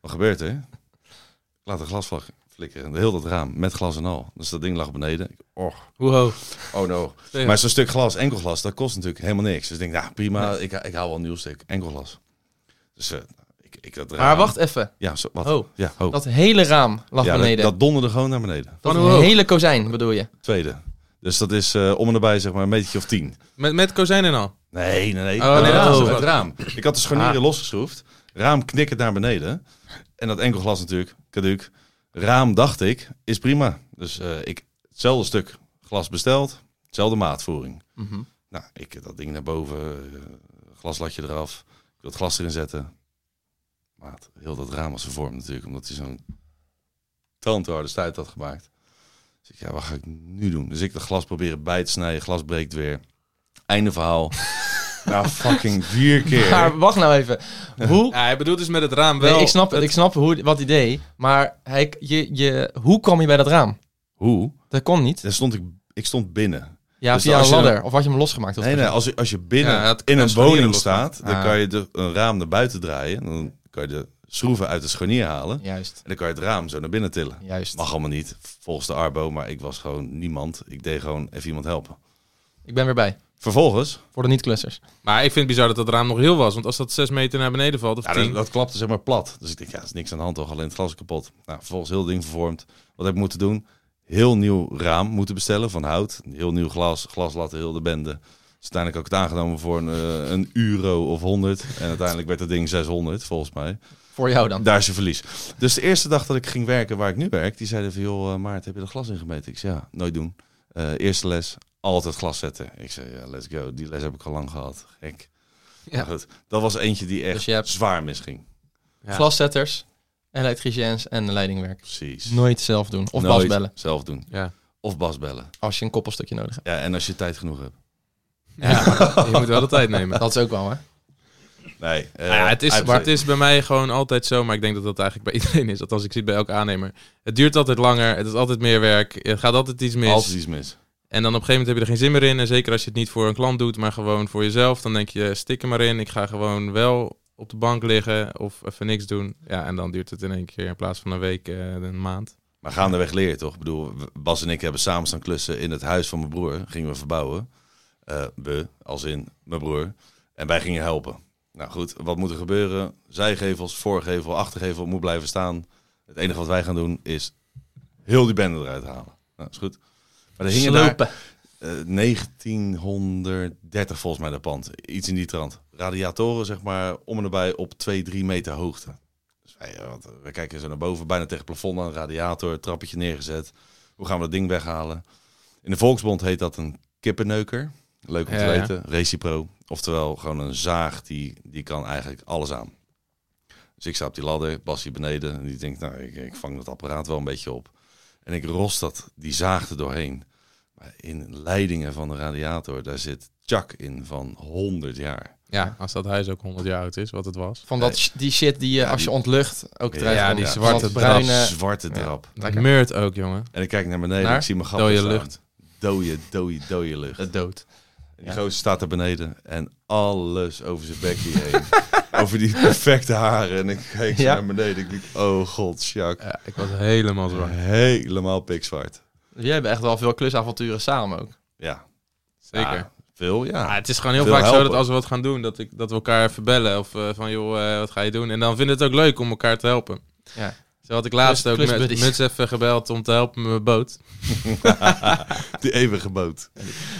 Speaker 2: Wat gebeurt er? Ik laat een glasvlag flikkeren. Heel dat raam, met glas en al. Dus dat ding lag beneden. Ik- Och,
Speaker 1: Hoe hoog?
Speaker 2: oh no.
Speaker 3: Ja.
Speaker 2: Maar zo'n stuk glas, enkel glas, dat kost natuurlijk helemaal niks. Dus ik denk, nou prima, ik, ik hou wel een nieuw stuk. Enkel glas. Dus eh, ik, ik dat raam...
Speaker 1: Maar wacht even.
Speaker 2: Ja, zo, wat?
Speaker 1: Oh,
Speaker 2: ja, ho.
Speaker 1: Dat hele raam lag
Speaker 2: ja, dat,
Speaker 1: beneden.
Speaker 2: dat Oh, donderde gewoon naar beneden.
Speaker 1: Dat
Speaker 3: Van hoe hoog?
Speaker 1: hele kozijn bedoel je?
Speaker 2: Tweede. Dus dat is eh, om en nabij zeg maar een metertje of tien.
Speaker 3: Met, met kozijn en al.
Speaker 2: Nee, nee, nee.
Speaker 3: Oh, nee,
Speaker 1: dat
Speaker 2: dat
Speaker 1: is
Speaker 2: is
Speaker 3: het.
Speaker 2: het raam. Ik had de scharnieren losgeschroefd. Raam knikkend naar beneden. En dat enkel glas natuurlijk, caduc. Raam, dacht ik, is prima. Dus eh, ik hetzelfde stuk glas besteld, hetzelfde maatvoering.
Speaker 1: Mhm.
Speaker 2: Nou, ik dat ding naar boven, eh, glaslatje eraf. Ik wil het glas erin zetten. Maat, heel dat raam was vervormd natuurlijk, omdat hij zo'n tandharde stuit had gemaakt. Dus ik, ja, wat ga ik nu doen? Dus ik dat glas proberen bij te snijden, glas breekt weer. Einde verhaal. nou, fucking vier keer.
Speaker 1: Maar wacht nou even. Hoe?
Speaker 3: Ja, hij bedoelt dus met het raam wel.
Speaker 1: Nee, ik snap, het, ik snap hoe, wat idee. Maar hij, je, je, hoe kwam je bij dat raam?
Speaker 2: Hoe?
Speaker 1: Dat kon niet.
Speaker 2: Daar stond ik, ik stond binnen.
Speaker 1: Ja,
Speaker 2: Dus
Speaker 1: via
Speaker 2: als
Speaker 1: een
Speaker 2: je dan-
Speaker 1: ladder. Of had je hem losgemaakt? Of
Speaker 2: Nee, nee, als je, als je binnen
Speaker 3: Ja, het-
Speaker 2: in
Speaker 3: het
Speaker 2: een
Speaker 3: scharnier
Speaker 2: woning
Speaker 3: losmaken.
Speaker 2: staat, dan
Speaker 1: Ah.
Speaker 2: kan je de, een raam naar buiten draaien. Dan kan je de schroeven uit het scharnier halen.
Speaker 1: Juist,
Speaker 2: En dan kan je het raam zo naar binnen tillen.
Speaker 1: juist.
Speaker 2: Mag allemaal niet, volgens de Arbo, maar ik was gewoon niemand. Ik deed gewoon even iemand helpen.
Speaker 1: Ik ben weer bij.
Speaker 2: Vervolgens,
Speaker 1: Voor de niet-klussers.
Speaker 3: Maar ik vind het bizar dat dat raam nog heel was. Want als dat zes meter naar beneden valt, of
Speaker 2: ja,
Speaker 3: tien...
Speaker 2: dat, dat klapte zeg maar plat. Dus ik denk, ja, er is niks aan de hand, toch? Alleen het glas is kapot. Nou, vervolgens heel het ding vervormd. Wat heb ik moeten doen? Heel nieuw raam moeten bestellen van hout. Heel nieuw glas, glaslatten, heel de bende. Dus uiteindelijk had ik het aangenomen voor een, eh, een euro of 100. En uiteindelijk werd dat ding 600, volgens mij.
Speaker 1: Voor jou dan.
Speaker 2: Daar is je verlies. Dus de eerste dag dat ik ging werken waar ik nu werk, die zeiden van joh, eh, Maarten, heb je dat glas ingemeten? Ik zei ja, nooit doen. Eh, eerste les, altijd glas zetten. Ik zei ja, let's go. Die les heb ik al lang gehad. Gek.
Speaker 1: Ja.
Speaker 2: Maar goed, dat was eentje die echt
Speaker 1: Dus je hebt-
Speaker 2: zwaar misging.
Speaker 3: Ja.
Speaker 1: Glaszetters, elektriciëns en leidingwerk.
Speaker 2: Precies.
Speaker 1: Nooit zelf doen. Of
Speaker 2: Nooit
Speaker 1: Bas bellen.
Speaker 2: Zelf doen.
Speaker 3: Ja.
Speaker 2: Of Bas bellen.
Speaker 1: Als je een koppelstukje nodig hebt.
Speaker 2: Ja, en als je tijd genoeg hebt.
Speaker 3: Je moet wel de tijd nemen.
Speaker 1: Dat is ook wel, hè?
Speaker 2: Nee. eh,
Speaker 3: Nou ja, het, is,
Speaker 2: uitbesteed.
Speaker 3: het is bij mij gewoon altijd zo, maar ik denk dat dat eigenlijk bij iedereen is. Althans, ik zie het bij elke aannemer. Het duurt altijd langer, het is altijd meer werk, het gaat altijd iets mis.
Speaker 2: Altijd iets mis.
Speaker 3: En dan op een gegeven moment heb je er geen zin meer in. En zeker als je het niet voor een klant doet, maar gewoon voor jezelf, dan denk je, stik er maar in. Ik ga gewoon wel op de bank liggen of even niks doen. Ja, en dan duurt het in één keer in plaats van een week, eh, een maand.
Speaker 2: Maar gaandeweg leer je toch? Ik bedoel, Bas en ik hebben samen staan klussen in het huis van mijn broer. Gingen we verbouwen. Eh we, als in mijn broer. En wij gingen helpen. Nou goed, wat moet er gebeuren? Zijgevels, voorgevel, achtergevel moet blijven staan. Het enige wat wij gaan doen is heel die bende eruit halen. Nou, is goed. Maar er hingen daar
Speaker 1: Slopen.
Speaker 2: eh, 1930 volgens mij dat pand. Iets in die trant. Radiatoren zeg maar om en nabij op 2, 3 meter hoogte. Dus wij, eh, wat, we kijken zo naar boven, bijna tegen het plafond aan. Radiator, trappetje neergezet. Hoe gaan we dat ding weghalen? In de Volksbond heet dat een kippenneuker. Leuk om te
Speaker 3: Ja, ja.
Speaker 2: weten. Recipro. Oftewel gewoon een zaag die, die kan eigenlijk alles aan. Dus ik sta op die ladder, Bas hier beneden. En die denkt, nou, ik, ik vang dat apparaat wel een beetje op. En ik rost dat, die zaag er doorheen. Maar in leidingen van de radiator, daar zit tjak in van 100 jaar.
Speaker 3: Ja, als dat huis ook 100 jaar oud is, wat het was.
Speaker 1: Van dat, sh- die shit die je,
Speaker 2: Ja,
Speaker 1: als je
Speaker 2: die-
Speaker 1: ontlucht ook
Speaker 2: Ja,
Speaker 1: terecht komt.
Speaker 3: die
Speaker 1: Van
Speaker 3: zwarte
Speaker 1: dat
Speaker 3: drap.
Speaker 1: bruine...
Speaker 2: Zwarte drap.
Speaker 3: Dat meurt ook, jongen.
Speaker 2: En ik kijk naar beneden,
Speaker 1: Naar?
Speaker 2: ik zie mijn gat
Speaker 3: Dode
Speaker 2: staan.
Speaker 3: lucht.
Speaker 2: Dode, dode, dode lucht.
Speaker 1: eh, dood.
Speaker 2: En die gozer staat daar beneden en alles over zijn bekje heen. over die perfecte haren. En ik kijk zo
Speaker 1: Ja.
Speaker 2: naar beneden. Ik denk, oh god, Jacques.
Speaker 3: Ja, ik was helemaal zwaar.
Speaker 2: Helemaal pikzwart.
Speaker 1: Jij hebt echt wel veel klusavonturen samen ook.
Speaker 2: Ja.
Speaker 3: Zeker. Ah,
Speaker 2: Ja, Veel, ja.
Speaker 3: Ja, het is gewoon heel
Speaker 2: Veel
Speaker 3: vaak zo dat
Speaker 2: helpen.
Speaker 3: als we wat gaan doen, dat, ik, dat we elkaar even bellen. Of eh, van, joh, eh, wat ga je doen? En dan vinden we het ook leuk om elkaar te helpen.
Speaker 1: Ja.
Speaker 3: Zo had ik laatst
Speaker 1: Klus-
Speaker 3: ook met
Speaker 1: klusbuddies.
Speaker 3: Muts even gebeld om te helpen met mijn boot.
Speaker 2: Die eeuwige boot.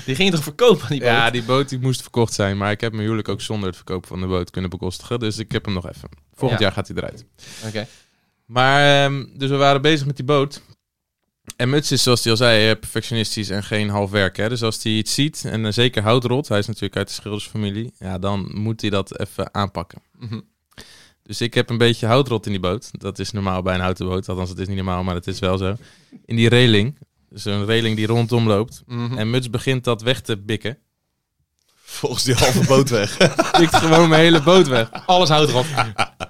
Speaker 1: Die ging toch verkopen, die boot?
Speaker 3: Ja, die boot die moest verkocht zijn. Maar ik heb mijn huwelijk ook zonder het verkopen van de boot kunnen bekostigen. Dus ik heb hem nog even. Volgend
Speaker 1: Ja.
Speaker 3: jaar gaat hij eruit.
Speaker 1: Oké.
Speaker 3: Maar, ehm, dus we waren bezig met die boot. En Muts is, zoals hij al zei, eh, perfectionistisch en geen half werk. Hè? Dus als hij iets ziet, en eh, zeker houtrot, hij is natuurlijk uit de schildersfamilie, ja, dan moet hij dat even aanpakken.
Speaker 1: Mhm.
Speaker 3: Dus ik heb een beetje houtrot in die boot. Dat is normaal bij een houten boot. Althans, het is niet normaal, maar het is wel zo. In die reling. Dus een reling die rondom loopt.
Speaker 1: Mhm.
Speaker 3: En Muts begint dat weg te bikken.
Speaker 2: Volgens die halve boot weg.
Speaker 3: Bikt gewoon mijn hele boot weg.
Speaker 1: Alles houdt erop.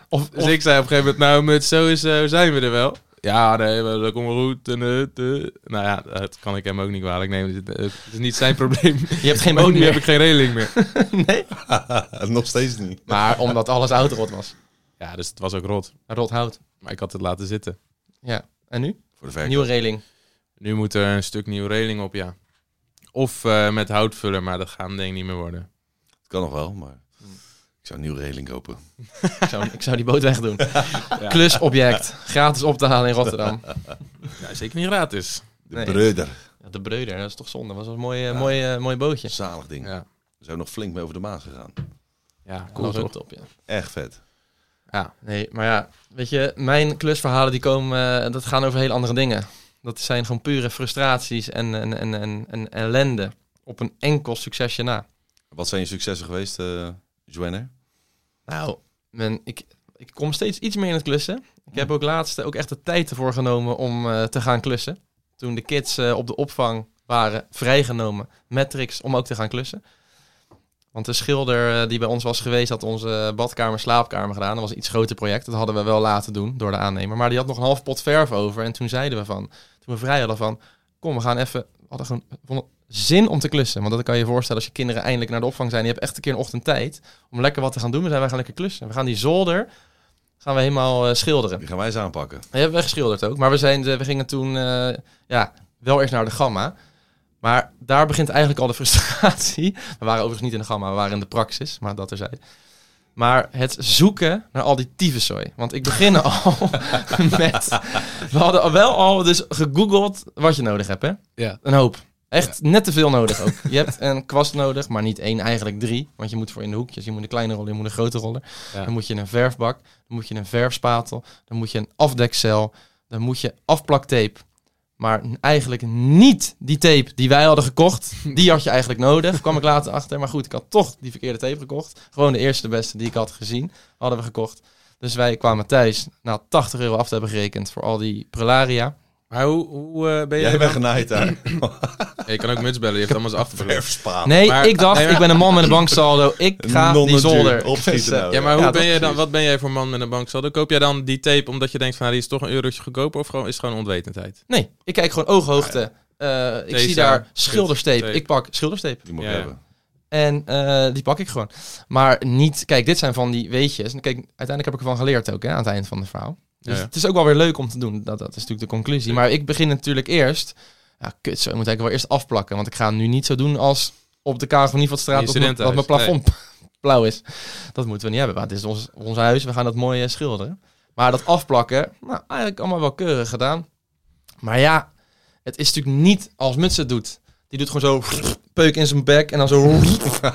Speaker 1: Of,
Speaker 3: Dus ik zei op een gegeven moment, nou met zo is, eh, zijn we er wel. Ja, nee, maar dat komt wel goed. En, eh, eh. Nou ja, dat kan ik hem ook niet kwalijk nemen. Dus Het is- Het is niet zijn probleem.
Speaker 1: je hebt geen
Speaker 3: Ook
Speaker 1: boot
Speaker 3: nu heb
Speaker 1: meer.
Speaker 3: ik geen reling meer.
Speaker 1: Nee.
Speaker 2: Nog steeds niet.
Speaker 1: Maar omdat alles houtrot was.
Speaker 3: Ja, dus het was ook rot.
Speaker 1: Rot hout.
Speaker 3: Maar ik had het laten zitten.
Speaker 1: Ja. En nu?
Speaker 2: Voor de verkoop.
Speaker 1: Nieuwe reling.
Speaker 3: Nu moet er een stuk nieuwe reling op, ja. Of eh, met houtvuller, maar dat gaan denk ik niet meer worden.
Speaker 2: Het kan nog wel, maar ik zou een nieuwe reling kopen.
Speaker 1: Ik zou, ik zou die boot wegdoen. Klusobject. Gratis op te halen in Rotterdam.
Speaker 3: Ja, zeker niet gratis.
Speaker 2: De
Speaker 1: Nee.
Speaker 2: breuder.
Speaker 1: Ja, De Breuder, dat is toch zonde. Dat was een mooi, eh, mooi, eh, mooi bootje.
Speaker 2: Zalig ding.
Speaker 3: Ja,
Speaker 2: We zijn nog flink mee over de maan gegaan.
Speaker 3: ja cool
Speaker 1: Alles
Speaker 3: toch?
Speaker 1: rot op, ja.
Speaker 2: Echt vet.
Speaker 3: Ja.
Speaker 1: Nee, maar ja, weet je, mijn klusverhalen die komen, eh, dat gaan over heel andere dingen. Dat zijn gewoon pure frustraties en, en, en, en, en ellende op een enkel succesje na.
Speaker 2: Wat zijn je successen geweest, eh Joanne?
Speaker 1: Nou, men, ik, ik kom steeds iets meer in het klussen. Ik heb ook laatst eh, ook echt de tijd ervoor genomen om eh, te gaan klussen. Toen de kids eh, op de opvang waren vrijgenomen met tricks om ook te gaan klussen. Want de schilder eh, die bij ons was geweest had onze badkamer, slaapkamer gedaan. Dat was een iets groter project. Dat hadden we wel laten doen door de aannemer. Maar die had nog een half pot verf over. En toen zeiden we van, toen we vrij hadden van, kom we gaan even, we hadden gewoon we vonden zin om te klussen. Want dat kan je je voorstellen als je kinderen eindelijk naar de opvang zijn. Je hebt echt een keer een ochtend tijd om lekker wat te gaan doen. We zijn wij gaan lekker klussen. We gaan die zolder gaan we helemaal eh, schilderen.
Speaker 2: Die gaan wij eens aanpakken.
Speaker 1: Die hebben we geschilderd ook. Maar we, zijn, we gingen toen eh, ja, wel eerst naar de Gamma. Maar daar begint eigenlijk al de frustratie. We waren overigens niet in de Gamma, we waren in de Praxis. Maar dat terzijde. Maar het zoeken naar al die tyfuszooi. Want ik begin al met... We hadden al wel al dus gegoogeld wat je nodig hebt, hè?
Speaker 3: Ja.
Speaker 1: Een hoop. Echt net te veel nodig ook. Je hebt een kwast nodig, maar niet één, eigenlijk drie. Want je moet voor in de hoekjes. Je moet een kleine roller, je moet een grote roller.
Speaker 3: Ja.
Speaker 1: Dan moet je een verfbak. Dan moet je een verfspatel. Dan moet je een afdekcel. Dan moet je afplaktape. Maar n- eigenlijk niet die tape die wij hadden gekocht. Die had je eigenlijk nodig. Kwam ik later achter. Maar goed, ik had toch die verkeerde tape gekocht. Gewoon de eerste de beste die ik had gezien. Hadden we gekocht. Dus wij kwamen thuis na 80 euro af te hebben gerekend voor al die prelaria.
Speaker 3: Maar hoe, hoe eh, ben je...
Speaker 2: Jij bent genaaid daar.
Speaker 3: Ja, je kan ook Muts bellen, je hebt allemaal zijn achtergrond.
Speaker 2: Verfspaal.
Speaker 1: Nee,
Speaker 3: maar-
Speaker 1: ik dacht,
Speaker 3: nee, maar-
Speaker 1: ik ben een man met een banksaldo. Ik ga die zolder.
Speaker 2: Opschieten nou.
Speaker 3: Oh, Ja, maar hoe
Speaker 1: Ja,
Speaker 3: ben
Speaker 1: dat
Speaker 3: jij dan,
Speaker 2: precies.
Speaker 3: wat ben jij voor man met een banksaldo? Koop jij dan die tape omdat je denkt van nou, die is toch een eurotje goedkoper of gewoon, is het gewoon onwetendheid?
Speaker 1: Nee, ik kijk gewoon ooghoogte. Eh, ik
Speaker 3: Deze,
Speaker 1: zie daar
Speaker 3: punt,
Speaker 1: schildersteep.
Speaker 3: tape.
Speaker 1: Ik pak schildersteep.
Speaker 2: Die moet ik
Speaker 3: Ja, ja.
Speaker 2: hebben.
Speaker 1: En eh, die pak ik gewoon. Maar niet, kijk, dit zijn van die weetjes. En Kijk, uiteindelijk heb ik ervan geleerd ook hè, aan het eind van het verhaal. Dus
Speaker 3: Ja.
Speaker 1: het is ook wel weer leuk om te doen. Dat, dat is natuurlijk de conclusie. Maar ik begin natuurlijk eerst. Ja, kut, zo. Ik moet eigenlijk wel eerst afplakken. Want ik ga hem nu niet zo doen als op de Karel van Nieuwvatstraat.
Speaker 3: In je
Speaker 1: Dat, mijn- dat mijn
Speaker 3: studentenhuis.
Speaker 1: plafond blauw is. Dat moeten we niet hebben. Maar het is ons, ons huis. We gaan dat mooi eh, schilderen. Maar dat afplakken, nou, eigenlijk allemaal wel keurig gedaan. Maar ja, het is natuurlijk niet als Muts het doet. Die doet gewoon zo peuk in zijn bek en dan zo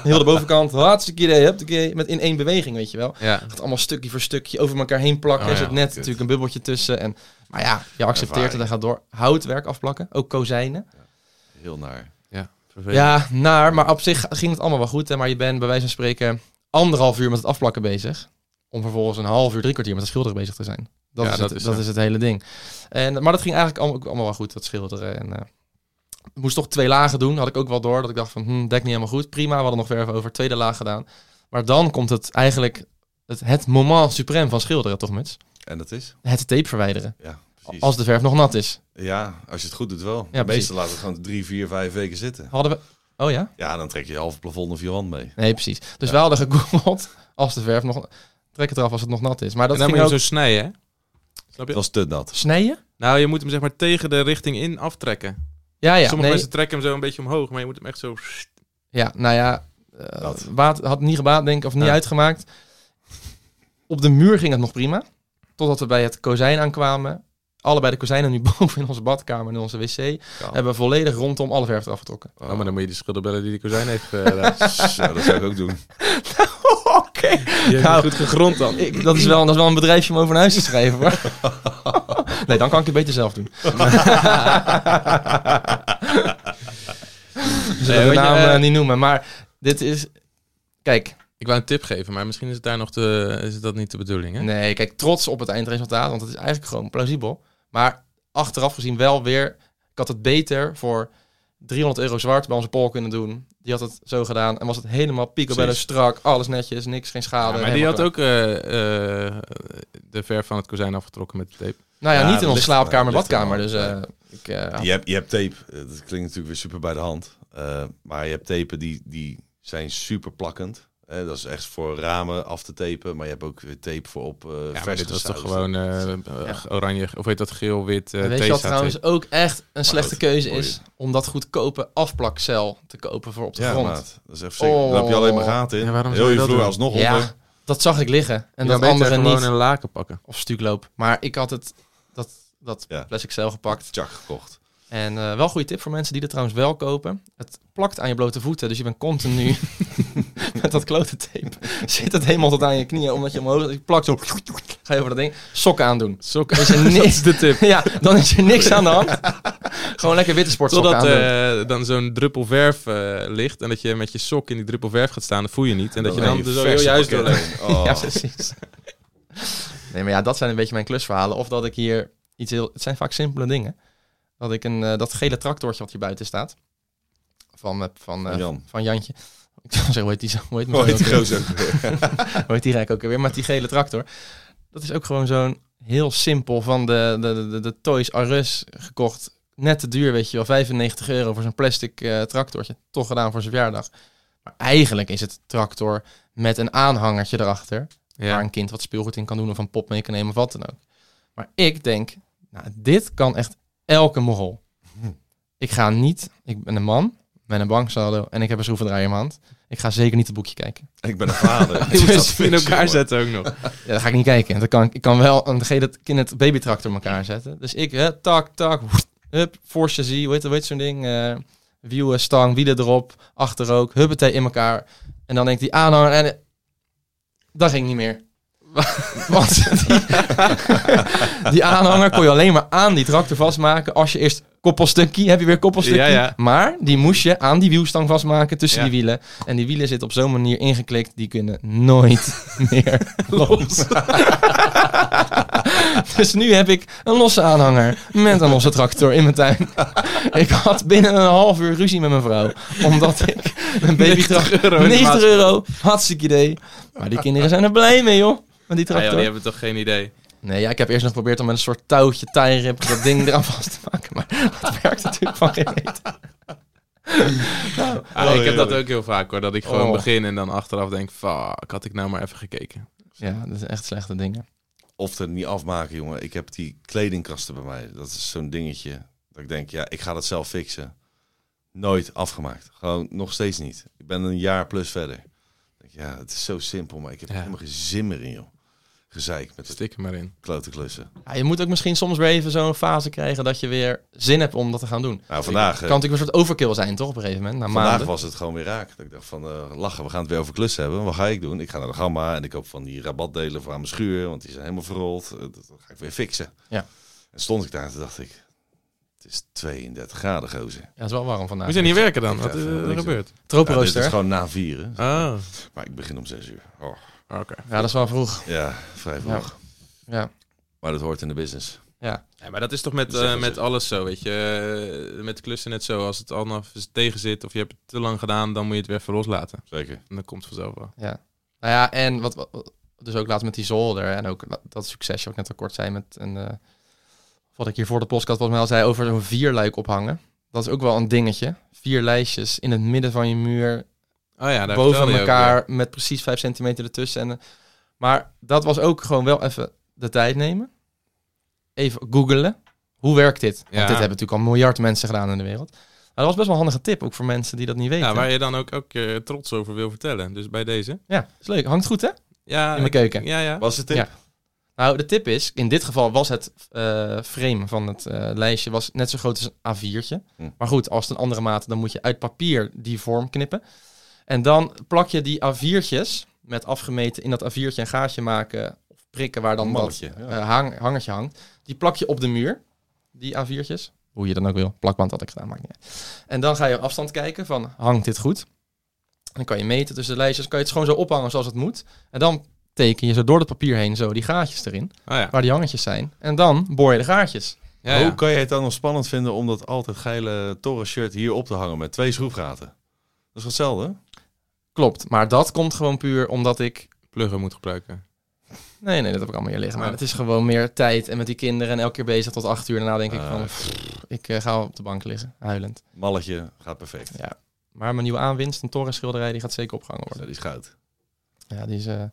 Speaker 1: heel de bovenkant. Hartstikke idee, heb met in één beweging, weet je wel.
Speaker 3: Ja.
Speaker 1: Het allemaal stukje voor stukje over elkaar heen plakken.
Speaker 3: Oh
Speaker 1: er
Speaker 3: ja,
Speaker 1: zit net
Speaker 2: kut.
Speaker 1: natuurlijk een bubbeltje tussen. En, maar ja, je accepteert het en
Speaker 2: Ervaring.
Speaker 1: gaat door. Houtwerk afplakken, ook kozijnen.
Speaker 2: Heel naar.
Speaker 1: Ja, naar, maar op zich ging het allemaal wel goed. Hè, maar je bent bij wijze van spreken anderhalf uur met het afplakken bezig. Om vervolgens een half uur, drie kwartier met het schilderen bezig te zijn. Dat,
Speaker 3: Ja,
Speaker 1: is,
Speaker 3: dat
Speaker 1: het,
Speaker 3: is
Speaker 1: dat
Speaker 3: zo.
Speaker 1: is het hele ding. En, maar dat ging eigenlijk allemaal, ook allemaal wel goed, dat schilderen. En, eh, ik moest toch twee lagen doen. Had ik ook wel door. Dat ik dacht van, hm, dek niet helemaal goed. Prima, we hadden nog verf over. Tweede laag gedaan. Maar dan komt het eigenlijk het, het moment suprême van schilderen, toch Muts?
Speaker 2: En dat is?
Speaker 1: Het tape verwijderen.
Speaker 2: Ja, precies.
Speaker 1: Als de verf nog nat is.
Speaker 2: Ja, als je het goed doet wel.
Speaker 1: Ja,
Speaker 2: Ja, Meestal laten het gewoon drie, vier, vijf weken zitten.
Speaker 1: Hadden we... Oh ja?
Speaker 2: Ja, dan trek je je halve plafond of je wand mee.
Speaker 1: Nee, precies. Dus wij hadden gegoogeld als de verf nog... Trek het eraf als het nog nat is. Maar dat
Speaker 3: en dan
Speaker 1: ging
Speaker 3: moet je
Speaker 1: ook...
Speaker 3: hem zo snijden, hè? Snap je?
Speaker 2: Dat was te nat.
Speaker 1: Snijden?
Speaker 3: Nou, je moet hem zeg maar tegen de richting in aftrekken.
Speaker 1: Ja, ja.
Speaker 3: Sommige
Speaker 1: nee.
Speaker 3: mensen trekken hem zo een beetje omhoog, maar je moet hem echt zo...
Speaker 1: Ja, nou ja, eh,
Speaker 2: Wat?
Speaker 1: water- had niet gebaat, denk ik, of niet
Speaker 3: Ja.
Speaker 1: uitgemaakt. Op de muur ging het nog prima. Totdat we bij het kozijn aankwamen. Allebei de kozijnen nu boven in onze badkamer, in onze wc. Hebben we volledig rondom alle verf eraf getrokken.
Speaker 3: Oh, maar dan moet je die schilder bellen die die kozijn heeft eh,
Speaker 2: Zo, dat zou ik ook doen.
Speaker 1: Oké.
Speaker 3: Die heeft
Speaker 1: Nou.
Speaker 3: goed gegrond dan.
Speaker 1: Ik- dat, is wel, dat is wel een bedrijfje om over een huis te schrijven. Hoor. nee, dan kan ik het beter zelf doen. Zullen we
Speaker 3: Nee,
Speaker 1: de
Speaker 3: weet je,
Speaker 1: naam
Speaker 3: eh,
Speaker 1: eh, niet noemen. Maar dit is... Kijk,
Speaker 3: Ik wou een tip geven, maar misschien is het daar nog te, is dat niet de bedoeling. Hè?
Speaker 1: nee, kijk, trots op het eindresultaat. Want het is eigenlijk gewoon plausibel. Maar achteraf gezien wel weer... Ik had het beter voor 300 euro zwart bij onze pol kunnen doen. Die had het zo gedaan. En was het helemaal picobello
Speaker 2: Precies.
Speaker 1: strak. Alles netjes, niks, geen
Speaker 3: Ja,
Speaker 1: schade.
Speaker 3: maar die
Speaker 1: helemaal
Speaker 3: had
Speaker 1: klaar.
Speaker 3: ook eh, eh, de verf van het kozijn afgetrokken met de tape.
Speaker 1: Nou ja,
Speaker 2: Ja,
Speaker 1: niet in
Speaker 2: dat
Speaker 1: onze
Speaker 2: ligt-
Speaker 1: slaapkamer,
Speaker 2: dat ligt
Speaker 1: badkamer.
Speaker 2: er
Speaker 1: Dus
Speaker 2: wel.
Speaker 1: eh, ik... eh,
Speaker 2: Je hebt, je hebt tape, eh, dat klinkt natuurlijk weer super bij de hand. Eh, maar je hebt tapen die, die zijn super plakkend. Eh, dat is echt voor ramen af te tapen. Maar je hebt ook weer tape voor op eh
Speaker 3: Ja, maar
Speaker 2: verse
Speaker 3: dit was toch
Speaker 2: saus.
Speaker 3: gewoon eh, eh, oranje, of weet dat geel-wit eh
Speaker 1: En weet je wat
Speaker 3: theezaad
Speaker 1: trouwens ook echt een slechte
Speaker 2: goed,
Speaker 1: keuze
Speaker 2: boeien.
Speaker 1: is? Om dat goedkope afplakcel te kopen voor op de
Speaker 2: Ja,
Speaker 1: grond.
Speaker 2: maat. Dat is echt zeker. Daar heb je alleen maar gaten in.
Speaker 3: Ja, waarom
Speaker 2: Heel
Speaker 3: zou je
Speaker 2: je
Speaker 3: dat
Speaker 2: vloer
Speaker 3: doen?
Speaker 2: alsnog onder.
Speaker 1: Ja, dat zag ik liggen. En
Speaker 3: En
Speaker 1: dat
Speaker 3: dan
Speaker 1: andere
Speaker 3: gewoon
Speaker 1: niet.
Speaker 3: een laken pakken.
Speaker 1: Of stukloop. Maar ik had het, dat, dat
Speaker 2: Ja.
Speaker 1: plastic cel gepakt.
Speaker 2: Tjak gekocht.
Speaker 1: En eh, wel een goede tip voor mensen die dat trouwens wel kopen. Het plakt aan je blote voeten. Dus je bent continu met dat klote tape. Zit het helemaal tot aan je knieën. Omdat je omhoog... Je plakt zo... Ga je over dat ding. Sokken aandoen.
Speaker 3: Sokken.
Speaker 1: Is er
Speaker 3: dat
Speaker 1: niks,
Speaker 3: is de tip.
Speaker 1: ja, dan is er niks aan de hand. Gewoon lekker witte sportsokken
Speaker 3: Totdat
Speaker 1: aandoen.
Speaker 3: eh, dan zo'n druppel verf eh, ligt en dat je met je sok in die druppel verf gaat staan, dat voel je niet. En dat je dan dus heel je huis doorloopt.
Speaker 1: Ja,
Speaker 2: Oh.
Speaker 1: precies. Nee, maar ja, dat zijn een beetje mijn klusverhalen. Of dat ik hier iets heel... Het zijn vaak simpele dingen. Dat ik een, eh, dat gele tractortje wat hier buiten staat. Van, eh, van, eh,
Speaker 2: Van nou, Jan.
Speaker 1: van Jantje. Ik zou zeggen, hoe heet die zo? Hoe heet,
Speaker 2: Oh, heet die
Speaker 1: die ook weer?
Speaker 2: gozer ook weer.
Speaker 1: Hoe heet die rijk ook weer? Maar die gele tractor. Dat is ook gewoon zo'n heel simpel van de, de, de, de, de Toys R Us gekocht. Net te duur, weet je wel. 95 euro voor zo'n plastic eh, tractortje. Toch gedaan voor zijn verjaardag. Maar eigenlijk is het tractor met een aanhangertje erachter waar
Speaker 3: Ja.
Speaker 1: een kind wat speelgoed in kan doen of een pop mee kan nemen of wat dan ook. Maar ik denk, nou, dit kan echt elke morrel. Ik ga niet, ik ben een man met een banksaldo en ik heb een schroevendraaier in mijn hand. Ik ga zeker niet het boekje kijken.
Speaker 2: Ik ben een vader.
Speaker 3: Die
Speaker 2: Dat
Speaker 3: moest
Speaker 2: vind
Speaker 3: je in
Speaker 2: ik
Speaker 3: elkaar
Speaker 2: jammer.
Speaker 3: zetten ook nog.
Speaker 1: Ja, dat ga ik niet kijken. Dat kan, ik- ik kan wel een gele in het babytractor in elkaar zetten. Dus ik, hè, tak, tak, hup, force zie, hoe heet, hoe heet zo'n ding? Eh, wielen, stang, wielen erop, achter ook, huppatee in elkaar. En dan denk ik, die aanhanger, en eh, dat ging niet meer. Want die, die aanhanger kon je alleen maar aan die tractor vastmaken als je eerst koppelstukkie, heb je weer koppelstukkie.
Speaker 3: Ja, ja.
Speaker 1: Maar die moest je aan die wielstang vastmaken tussen
Speaker 3: Ja.
Speaker 1: die wielen. En die wielen zitten op zo'n manier ingeklikt, die kunnen nooit meer los. dus nu heb ik een losse aanhanger met een losse tractor in mijn tuin. ik had binnen een half uur ruzie met mijn vrouw, omdat ik een babytractor...
Speaker 3: 90 euro. in de
Speaker 1: 90
Speaker 3: maand.
Speaker 1: euro, hartstikke idee. Maar die kinderen zijn er blij mee, joh. Met die
Speaker 3: Ah, joh,
Speaker 1: tractor.
Speaker 3: die hebben toch geen idee.
Speaker 1: Nee, ja, ik heb eerst nog geprobeerd om met een soort touwtje, tie-rip, dat ding eraan vast te maken. Maar dat werkt natuurlijk van geen reet.
Speaker 3: Ah, ik heb dat ook heel vaak hoor, dat ik gewoon
Speaker 1: Oh.
Speaker 3: begin en dan achteraf denk, fuck, had ik nou maar even gekeken.
Speaker 1: Ja, dat zijn echt slechte dingen.
Speaker 2: Of het niet afmaken, jongen. Ik heb die kledingkasten bij mij. Dat is zo'n dingetje. Dat ik denk, ja, ik ga dat zelf fixen. Nooit afgemaakt. Gewoon nog steeds niet. Ik ben een jaar plus verder. Ik denk, Ja, het is zo simpel, maar ik heb
Speaker 3: Ja.
Speaker 2: helemaal geen zin meer in, joh. Gezeik met het
Speaker 3: Stik er maar in.
Speaker 2: klote klussen.
Speaker 1: Ja, je moet ook misschien soms weer even zo'n fase krijgen dat je weer zin hebt om dat te gaan doen.
Speaker 2: Nou, vandaag,
Speaker 1: Kan
Speaker 2: eh,
Speaker 1: natuurlijk een soort overkill zijn, toch, op een gegeven moment? Na
Speaker 2: vandaag
Speaker 1: maanden.
Speaker 2: was het gewoon weer raak. Dat ik dacht van, eh, lachen, we gaan het weer over klussen hebben. Wat ga ik doen? Ik ga naar de gamma en ik koop van die rabatdelen voor aan mijn schuur. Want die zijn helemaal verrold. Eh, Dat dat ga ik weer fixen.
Speaker 1: Ja.
Speaker 2: En stond ik daar en toen dacht ik, het is 32 graden, gozer.
Speaker 1: Ja, het is wel warm vandaag.
Speaker 3: Moet je niet werken dan?
Speaker 2: Ja,
Speaker 3: Wat is
Speaker 2: even
Speaker 3: er
Speaker 2: niks
Speaker 3: gebeurd?
Speaker 2: Ja, dit
Speaker 1: Tropenrooster.
Speaker 2: is
Speaker 1: Ja,
Speaker 2: gewoon na vieren.
Speaker 3: Oh,
Speaker 2: Maar ik begin om zes uur. Oh,
Speaker 3: Ah, oké.
Speaker 1: ja, dat is wel vroeg.
Speaker 2: ja, vrij vroeg.
Speaker 1: Ja.
Speaker 2: Maar dat hoort in de business.
Speaker 3: Ja, maar dat is toch met,
Speaker 2: Dat
Speaker 3: eh,
Speaker 2: zeggen
Speaker 3: met
Speaker 2: ze.
Speaker 3: alles zo, weet je. Eh, Met klussen net zo. Als het allemaal tegen zit of je hebt het te lang gedaan, dan moet je het weer even loslaten.
Speaker 2: Zeker.
Speaker 3: En dat komt vanzelf wel. Oh
Speaker 1: Nou ja, en wat, wat- wat- dus ook laatst met die zolder en ook la- dat succes, wat ik net al kort zei met een, eh, wat ik hier voor de podcast volgens mij al zei, over zo'n vierluik ophangen. Dat is ook wel een dingetje. Vier lijstjes in het midden van je muur,
Speaker 3: Oh ja, daar
Speaker 1: boven
Speaker 3: vertelde je ook weer.
Speaker 1: elkaar, met precies vijf centimeter ertussen. En, eh, maar dat was ook gewoon wel even de tijd nemen. Even googelen. Hoe werkt dit? Want
Speaker 3: Ja.
Speaker 1: dit hebben natuurlijk al miljard mensen gedaan in de wereld. dat was best wel een handige tip, ook voor mensen die dat niet weten.
Speaker 3: Ja, Nou, waar je dan ook, ook eh, trots over wil vertellen. Dus bij deze.
Speaker 1: Ja, is leuk. Hangt goed, hè?
Speaker 3: Ja,
Speaker 1: In mijn
Speaker 3: ik-
Speaker 1: keuken.
Speaker 3: Ja, ja.
Speaker 2: Was het tip?
Speaker 1: Ja. Nou, de tip is, in dit geval was het eh, frame van het eh, lijstje was net zo groot als een A4'tje.
Speaker 2: Hm.
Speaker 1: Maar goed, als het een andere maat, dan moet je uit papier die vorm knippen. En dan plak je die A4'tjes met afgemeten in dat A4'tje een gaatje maken of prikken waar dan
Speaker 2: Een
Speaker 1: dat
Speaker 2: malletje, ja.
Speaker 1: eh, hang, hangertje hangt. Die plak je op de muur, die A4'tjes. Hoe je dan ook wil. Plakband had ik gedaan, maakt niet uit. En dan ga je op afstand kijken van, hangt dit goed? En dan kan je meten tussen de lijstjes, kan je het gewoon zo ophangen zoals het moet. En dan teken je zo door het papier heen zo die gaatjes erin,
Speaker 3: Oh, ja.
Speaker 1: waar die hangertjes zijn. En dan boor je de gaatjes.
Speaker 3: Ja, ja.
Speaker 2: Hoe kan je het dan nog spannend vinden om dat altijd geile Torres shirt hier op te hangen met twee schroefgaten? Dat is hetzelfde. hè?
Speaker 1: Klopt, maar dat komt gewoon puur omdat ik...
Speaker 3: Pluggen moet gebruiken.
Speaker 1: Nee, nee, dat heb ik allemaal hier liggen. Maar
Speaker 2: Ah.
Speaker 3: Ja.
Speaker 1: het is gewoon meer tijd en met die kinderen en elke keer bezig tot acht uur. Daarna denk ik
Speaker 2: Ah,
Speaker 1: van, pff, ik eh, ga op de bank liggen, huilend.
Speaker 2: Malletje gaat perfect.
Speaker 1: Ja. Maar mijn nieuwe aanwinst, een Torres schilderij, die gaat zeker opgehangen
Speaker 2: Zo,
Speaker 1: worden.
Speaker 2: die is goud.
Speaker 1: Ja, die is... eh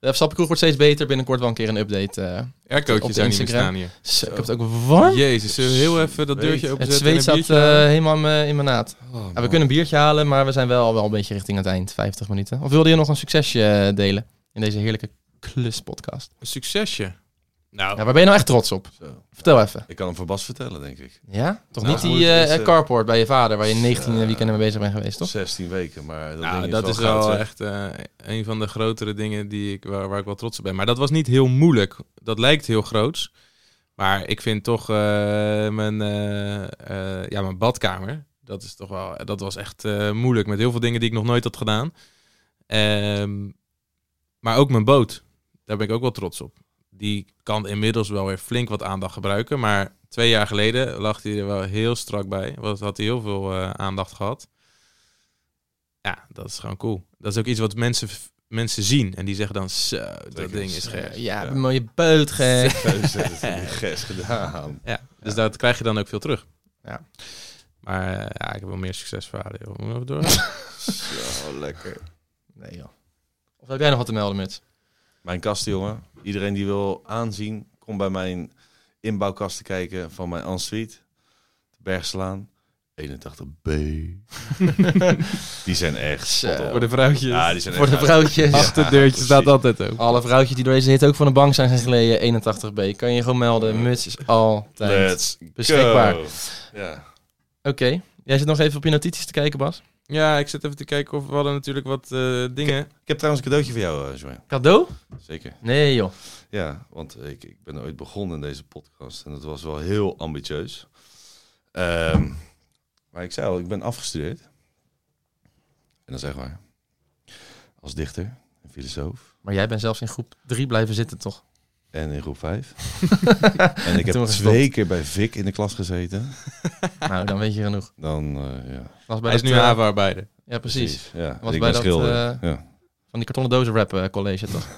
Speaker 1: de Sappenkroeg wordt steeds beter. Binnenkort wel een keer een update. eh. Op de
Speaker 3: Aircootjes zijn niet meer
Speaker 1: Instagram.
Speaker 3: staan hier.
Speaker 1: Zo, ik heb het ook warm.
Speaker 3: Jezus, zullen we heel even dat
Speaker 2: Zweet.
Speaker 3: deurtje
Speaker 1: Het
Speaker 3: openzetten?
Speaker 1: zweet
Speaker 3: en
Speaker 1: zat
Speaker 3: een
Speaker 1: eh,
Speaker 3: biertje halen?
Speaker 1: helemaal in mijn- in mijn naad.
Speaker 2: Oh,
Speaker 1: Ja, we
Speaker 2: man.
Speaker 1: kunnen een biertje halen, maar we zijn wel al wel een beetje richting het eind. 50 minuten. Of wilde je nog een succesje eh, delen in deze heerlijke kluspodcast?
Speaker 3: Een succesje.
Speaker 2: Oh.
Speaker 3: Nou,
Speaker 1: Ja, waar ben je nou echt trots op?
Speaker 2: Zo.
Speaker 1: Vertel even.
Speaker 2: Ik kan hem voor Bas vertellen, denk ik.
Speaker 1: Ja? Toch
Speaker 3: Nou,
Speaker 1: niet die
Speaker 2: goed,
Speaker 1: eh,
Speaker 2: is, eh,
Speaker 1: carport bij je vader, waar je 19
Speaker 2: eh,
Speaker 1: weekenden mee bezig bent geweest, toch?
Speaker 2: 16 weken, maar dat,
Speaker 3: nou,
Speaker 2: ding
Speaker 3: dat is
Speaker 2: goud,
Speaker 3: wel,
Speaker 2: zeg.
Speaker 3: echt eh, een van de grotere dingen die ik, waar, waar ik wel trots op ben. Maar dat was niet heel moeilijk. Dat lijkt heel groots. Maar ik vind toch eh, mijn, eh, eh, ja, mijn badkamer. Dat, is toch wel, dat was echt eh, moeilijk. Met heel veel dingen die ik nog nooit had gedaan. Ehm, maar ook mijn boot. Daar ben ik ook wel trots op. Die kan inmiddels wel weer flink wat aandacht gebruiken. Maar twee jaar geleden lag hij er wel heel strak bij. Want had hij heel veel eh, aandacht gehad. Ja, dat is gewoon cool. Dat is ook iets wat mensen, mensen zien. En die zeggen dan, zo, dat
Speaker 2: Zeker.
Speaker 3: ding is scherp.
Speaker 1: Eh, ja,
Speaker 2: ja.
Speaker 1: een mooie beut gek.
Speaker 2: Zo is het in de Gers gedaan.
Speaker 3: Ja, dus dat krijg je dan ook veel terug.
Speaker 1: Ja.
Speaker 3: Maar eh, ja, ik heb wel meer succesverhalen. joh. Moeten we even door?
Speaker 2: Zo lekker.
Speaker 1: Nee joh. Of heb jij nog wat te melden, Muts?
Speaker 2: Mijn kast, jongen. Iedereen die wil aanzien, kom bij mijn inbouwkasten kijken van mijn ensuite. De Bergslaan. 81B. die zijn echt
Speaker 1: Zo.
Speaker 2: spot on.
Speaker 3: Voor de vrouwtjes.
Speaker 2: Ja, die zijn
Speaker 1: Voor de
Speaker 2: echt
Speaker 1: vrouwtjes.
Speaker 2: Ja.
Speaker 3: Achterdeurtje staat altijd ook.
Speaker 1: Alle vrouwtjes die door deze hit ook van de bank zijn gegleden, 81b. Kan je je gewoon melden, Muts is altijd
Speaker 2: Let's
Speaker 1: beschikbaar.
Speaker 2: go. Ja.
Speaker 1: Oké, jij zit nog even op je notities te kijken, Bas.
Speaker 3: Ja, ik zit even te kijken of we hadden natuurlijk wat eh, dingen.
Speaker 2: Ik heb trouwens een cadeautje voor jou, eh, Joël.
Speaker 1: Cadeau?
Speaker 2: Zeker.
Speaker 1: Nee joh.
Speaker 2: Ja, want ik, ik ben ooit begonnen in deze podcast en dat was wel heel ambitieus. Ehm, maar ik zei al, ik ben afgestudeerd. En dat is echt waar. Als dichter en filosoof.
Speaker 1: Maar jij bent zelfs in groep 3 blijven zitten, toch?
Speaker 2: En in groep 5. en ik heb
Speaker 1: Toen
Speaker 2: twee
Speaker 1: was het
Speaker 2: keer bij Vic in de klas gezeten.
Speaker 1: nou, dan weet je genoeg.
Speaker 2: Dan, eh, ja.
Speaker 1: Was bij
Speaker 3: Hij is
Speaker 1: dat,
Speaker 3: nu
Speaker 1: eh,
Speaker 3: havenarbeider.
Speaker 1: Ja, precies.
Speaker 2: Ja,
Speaker 1: Was
Speaker 2: ik
Speaker 1: bij
Speaker 2: ben
Speaker 1: dat,
Speaker 2: schilder.
Speaker 1: eh,
Speaker 2: ja.
Speaker 1: Van die kartonnen dozen rap eh, college, toch?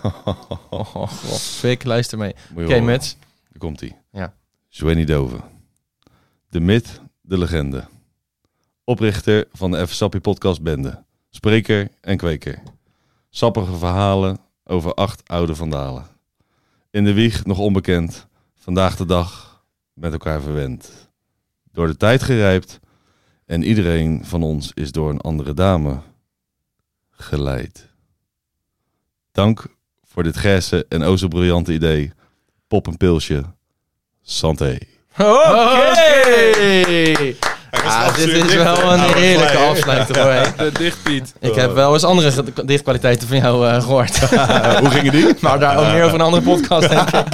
Speaker 1: Oh, oh, god. Fik, luister mee. Oké,
Speaker 2: Moet je horen.
Speaker 1: Mets.
Speaker 2: Daar komt hij.
Speaker 1: Ja.
Speaker 2: Joanny Doven. De myth, de legende. Oprichter van de Even Sappie podcast bende. Spreker en kweker. Sappige verhalen over acht oude vandalen. In de wieg nog onbekend. Vandaag de dag met elkaar verwend. Door de tijd gerijpt. En iedereen van ons is door een andere dame geleid. Dank voor dit gerse en o zo briljante idee. Pop een pilsje. Santé.
Speaker 1: Oké! Ah, dit is wel een heerlijke afsluiter voor je.
Speaker 3: De dichtpiet.
Speaker 1: Ik heb wel eens andere ge- dichtkwaliteiten van jou eh, gehoord.
Speaker 2: Hoe gingen die?
Speaker 1: maar Nou, Oh, daar ook meer over een andere podcast, denk ik.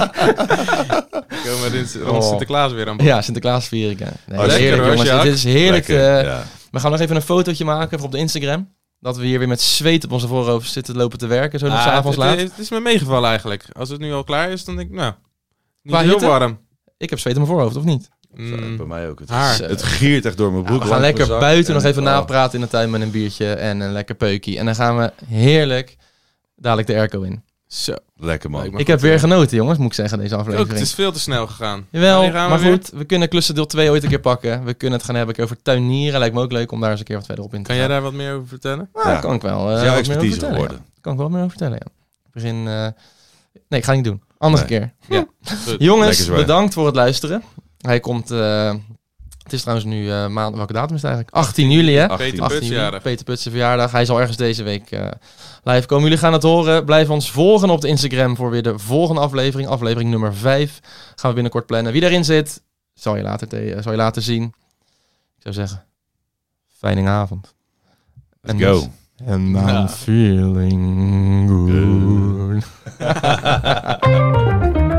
Speaker 3: Komen we rond
Speaker 1: Oh.
Speaker 3: Sinterklaas weer aan bod.
Speaker 1: Ja, Sinterklaas vier ik. hè. Nee,
Speaker 2: lekker
Speaker 1: heerlijk,
Speaker 3: Oh, hoor,
Speaker 1: jongens.
Speaker 3: Sjaak.
Speaker 1: Dit is heerlijk. eh,
Speaker 2: ja.
Speaker 1: We gaan nog even een fotootje maken voor op de Instagram. Dat we hier weer met zweet op onze voorhoofd zitten lopen te werken. Zo nog
Speaker 3: Ah,
Speaker 1: s'avonds
Speaker 3: het-
Speaker 1: laat.
Speaker 3: Het, het is me meegevallen eigenlijk. Als het nu al klaar is, dan denk ik, nou, niet
Speaker 1: Qua
Speaker 3: heel
Speaker 1: hitte?
Speaker 3: warm.
Speaker 1: Ik heb zweet op mijn voorhoofd, of niet?
Speaker 3: Mm,
Speaker 2: bij mij ook. Het,
Speaker 3: haar.
Speaker 1: Zo. Nou,
Speaker 2: het giert echt door mijn
Speaker 1: we
Speaker 2: broek.
Speaker 1: gaan
Speaker 2: langs
Speaker 1: lekker
Speaker 2: mijn zak
Speaker 1: buiten
Speaker 2: en-
Speaker 1: nog even
Speaker 2: oh,
Speaker 1: napraten in de tuin met een biertje en een lekker peukie. En dan gaan we heerlijk dadelijk de airco in.
Speaker 3: Zo.
Speaker 2: Lekker man.
Speaker 3: Leuk, Maar
Speaker 1: ik heb weer genoten, jongens, moet ik zeggen, deze
Speaker 3: eh, Ook,
Speaker 1: aflevering.
Speaker 3: het is veel te snel gegaan.
Speaker 1: Jawel,
Speaker 3: Wanneer gaan we
Speaker 1: maar
Speaker 3: weer?
Speaker 1: goed, we kunnen klussen deel 2 ooit een keer pakken. We kunnen het gaan hebben over tuinieren. Lijkt me ook leuk om daar eens een keer wat verder op in te
Speaker 3: Kan jij
Speaker 1: gaan.
Speaker 3: daar wat meer over vertellen?
Speaker 1: Ja,
Speaker 2: Ja.
Speaker 1: kan ik wel. eh,
Speaker 2: Het is
Speaker 1: wat meer
Speaker 2: jouw
Speaker 1: over
Speaker 2: expertise
Speaker 1: vertellen,
Speaker 2: geworden.
Speaker 1: ja. Kan ik wel meer over vertellen, ja. Ik begin... eh, Nee, ik ga niet doen. Andere
Speaker 2: Nee.
Speaker 1: keer.
Speaker 3: Goed.
Speaker 1: Jongens,
Speaker 2: Lekker zwaar.
Speaker 1: bedankt voor het luisteren. Hij komt eh, Het is trouwens nu eh, maand. Welke datum is het eigenlijk? 18 juli, hè?
Speaker 2: 18.
Speaker 3: Peter
Speaker 1: 18
Speaker 3: Puts
Speaker 1: juli,
Speaker 3: jarig.
Speaker 1: Peter Putsen verjaardag. Hij zal ergens deze week eh, live komen. Jullie gaan het horen. Blijf ons volgen op de Instagram voor weer de volgende aflevering. Aflevering nummer 5. Gaan we binnenkort plannen. Wie daarin zit, zal je later, te- eh, zal je later zien. Ik zou zeggen, fijne avond.
Speaker 2: Let's go.
Speaker 1: And I'm feeling good.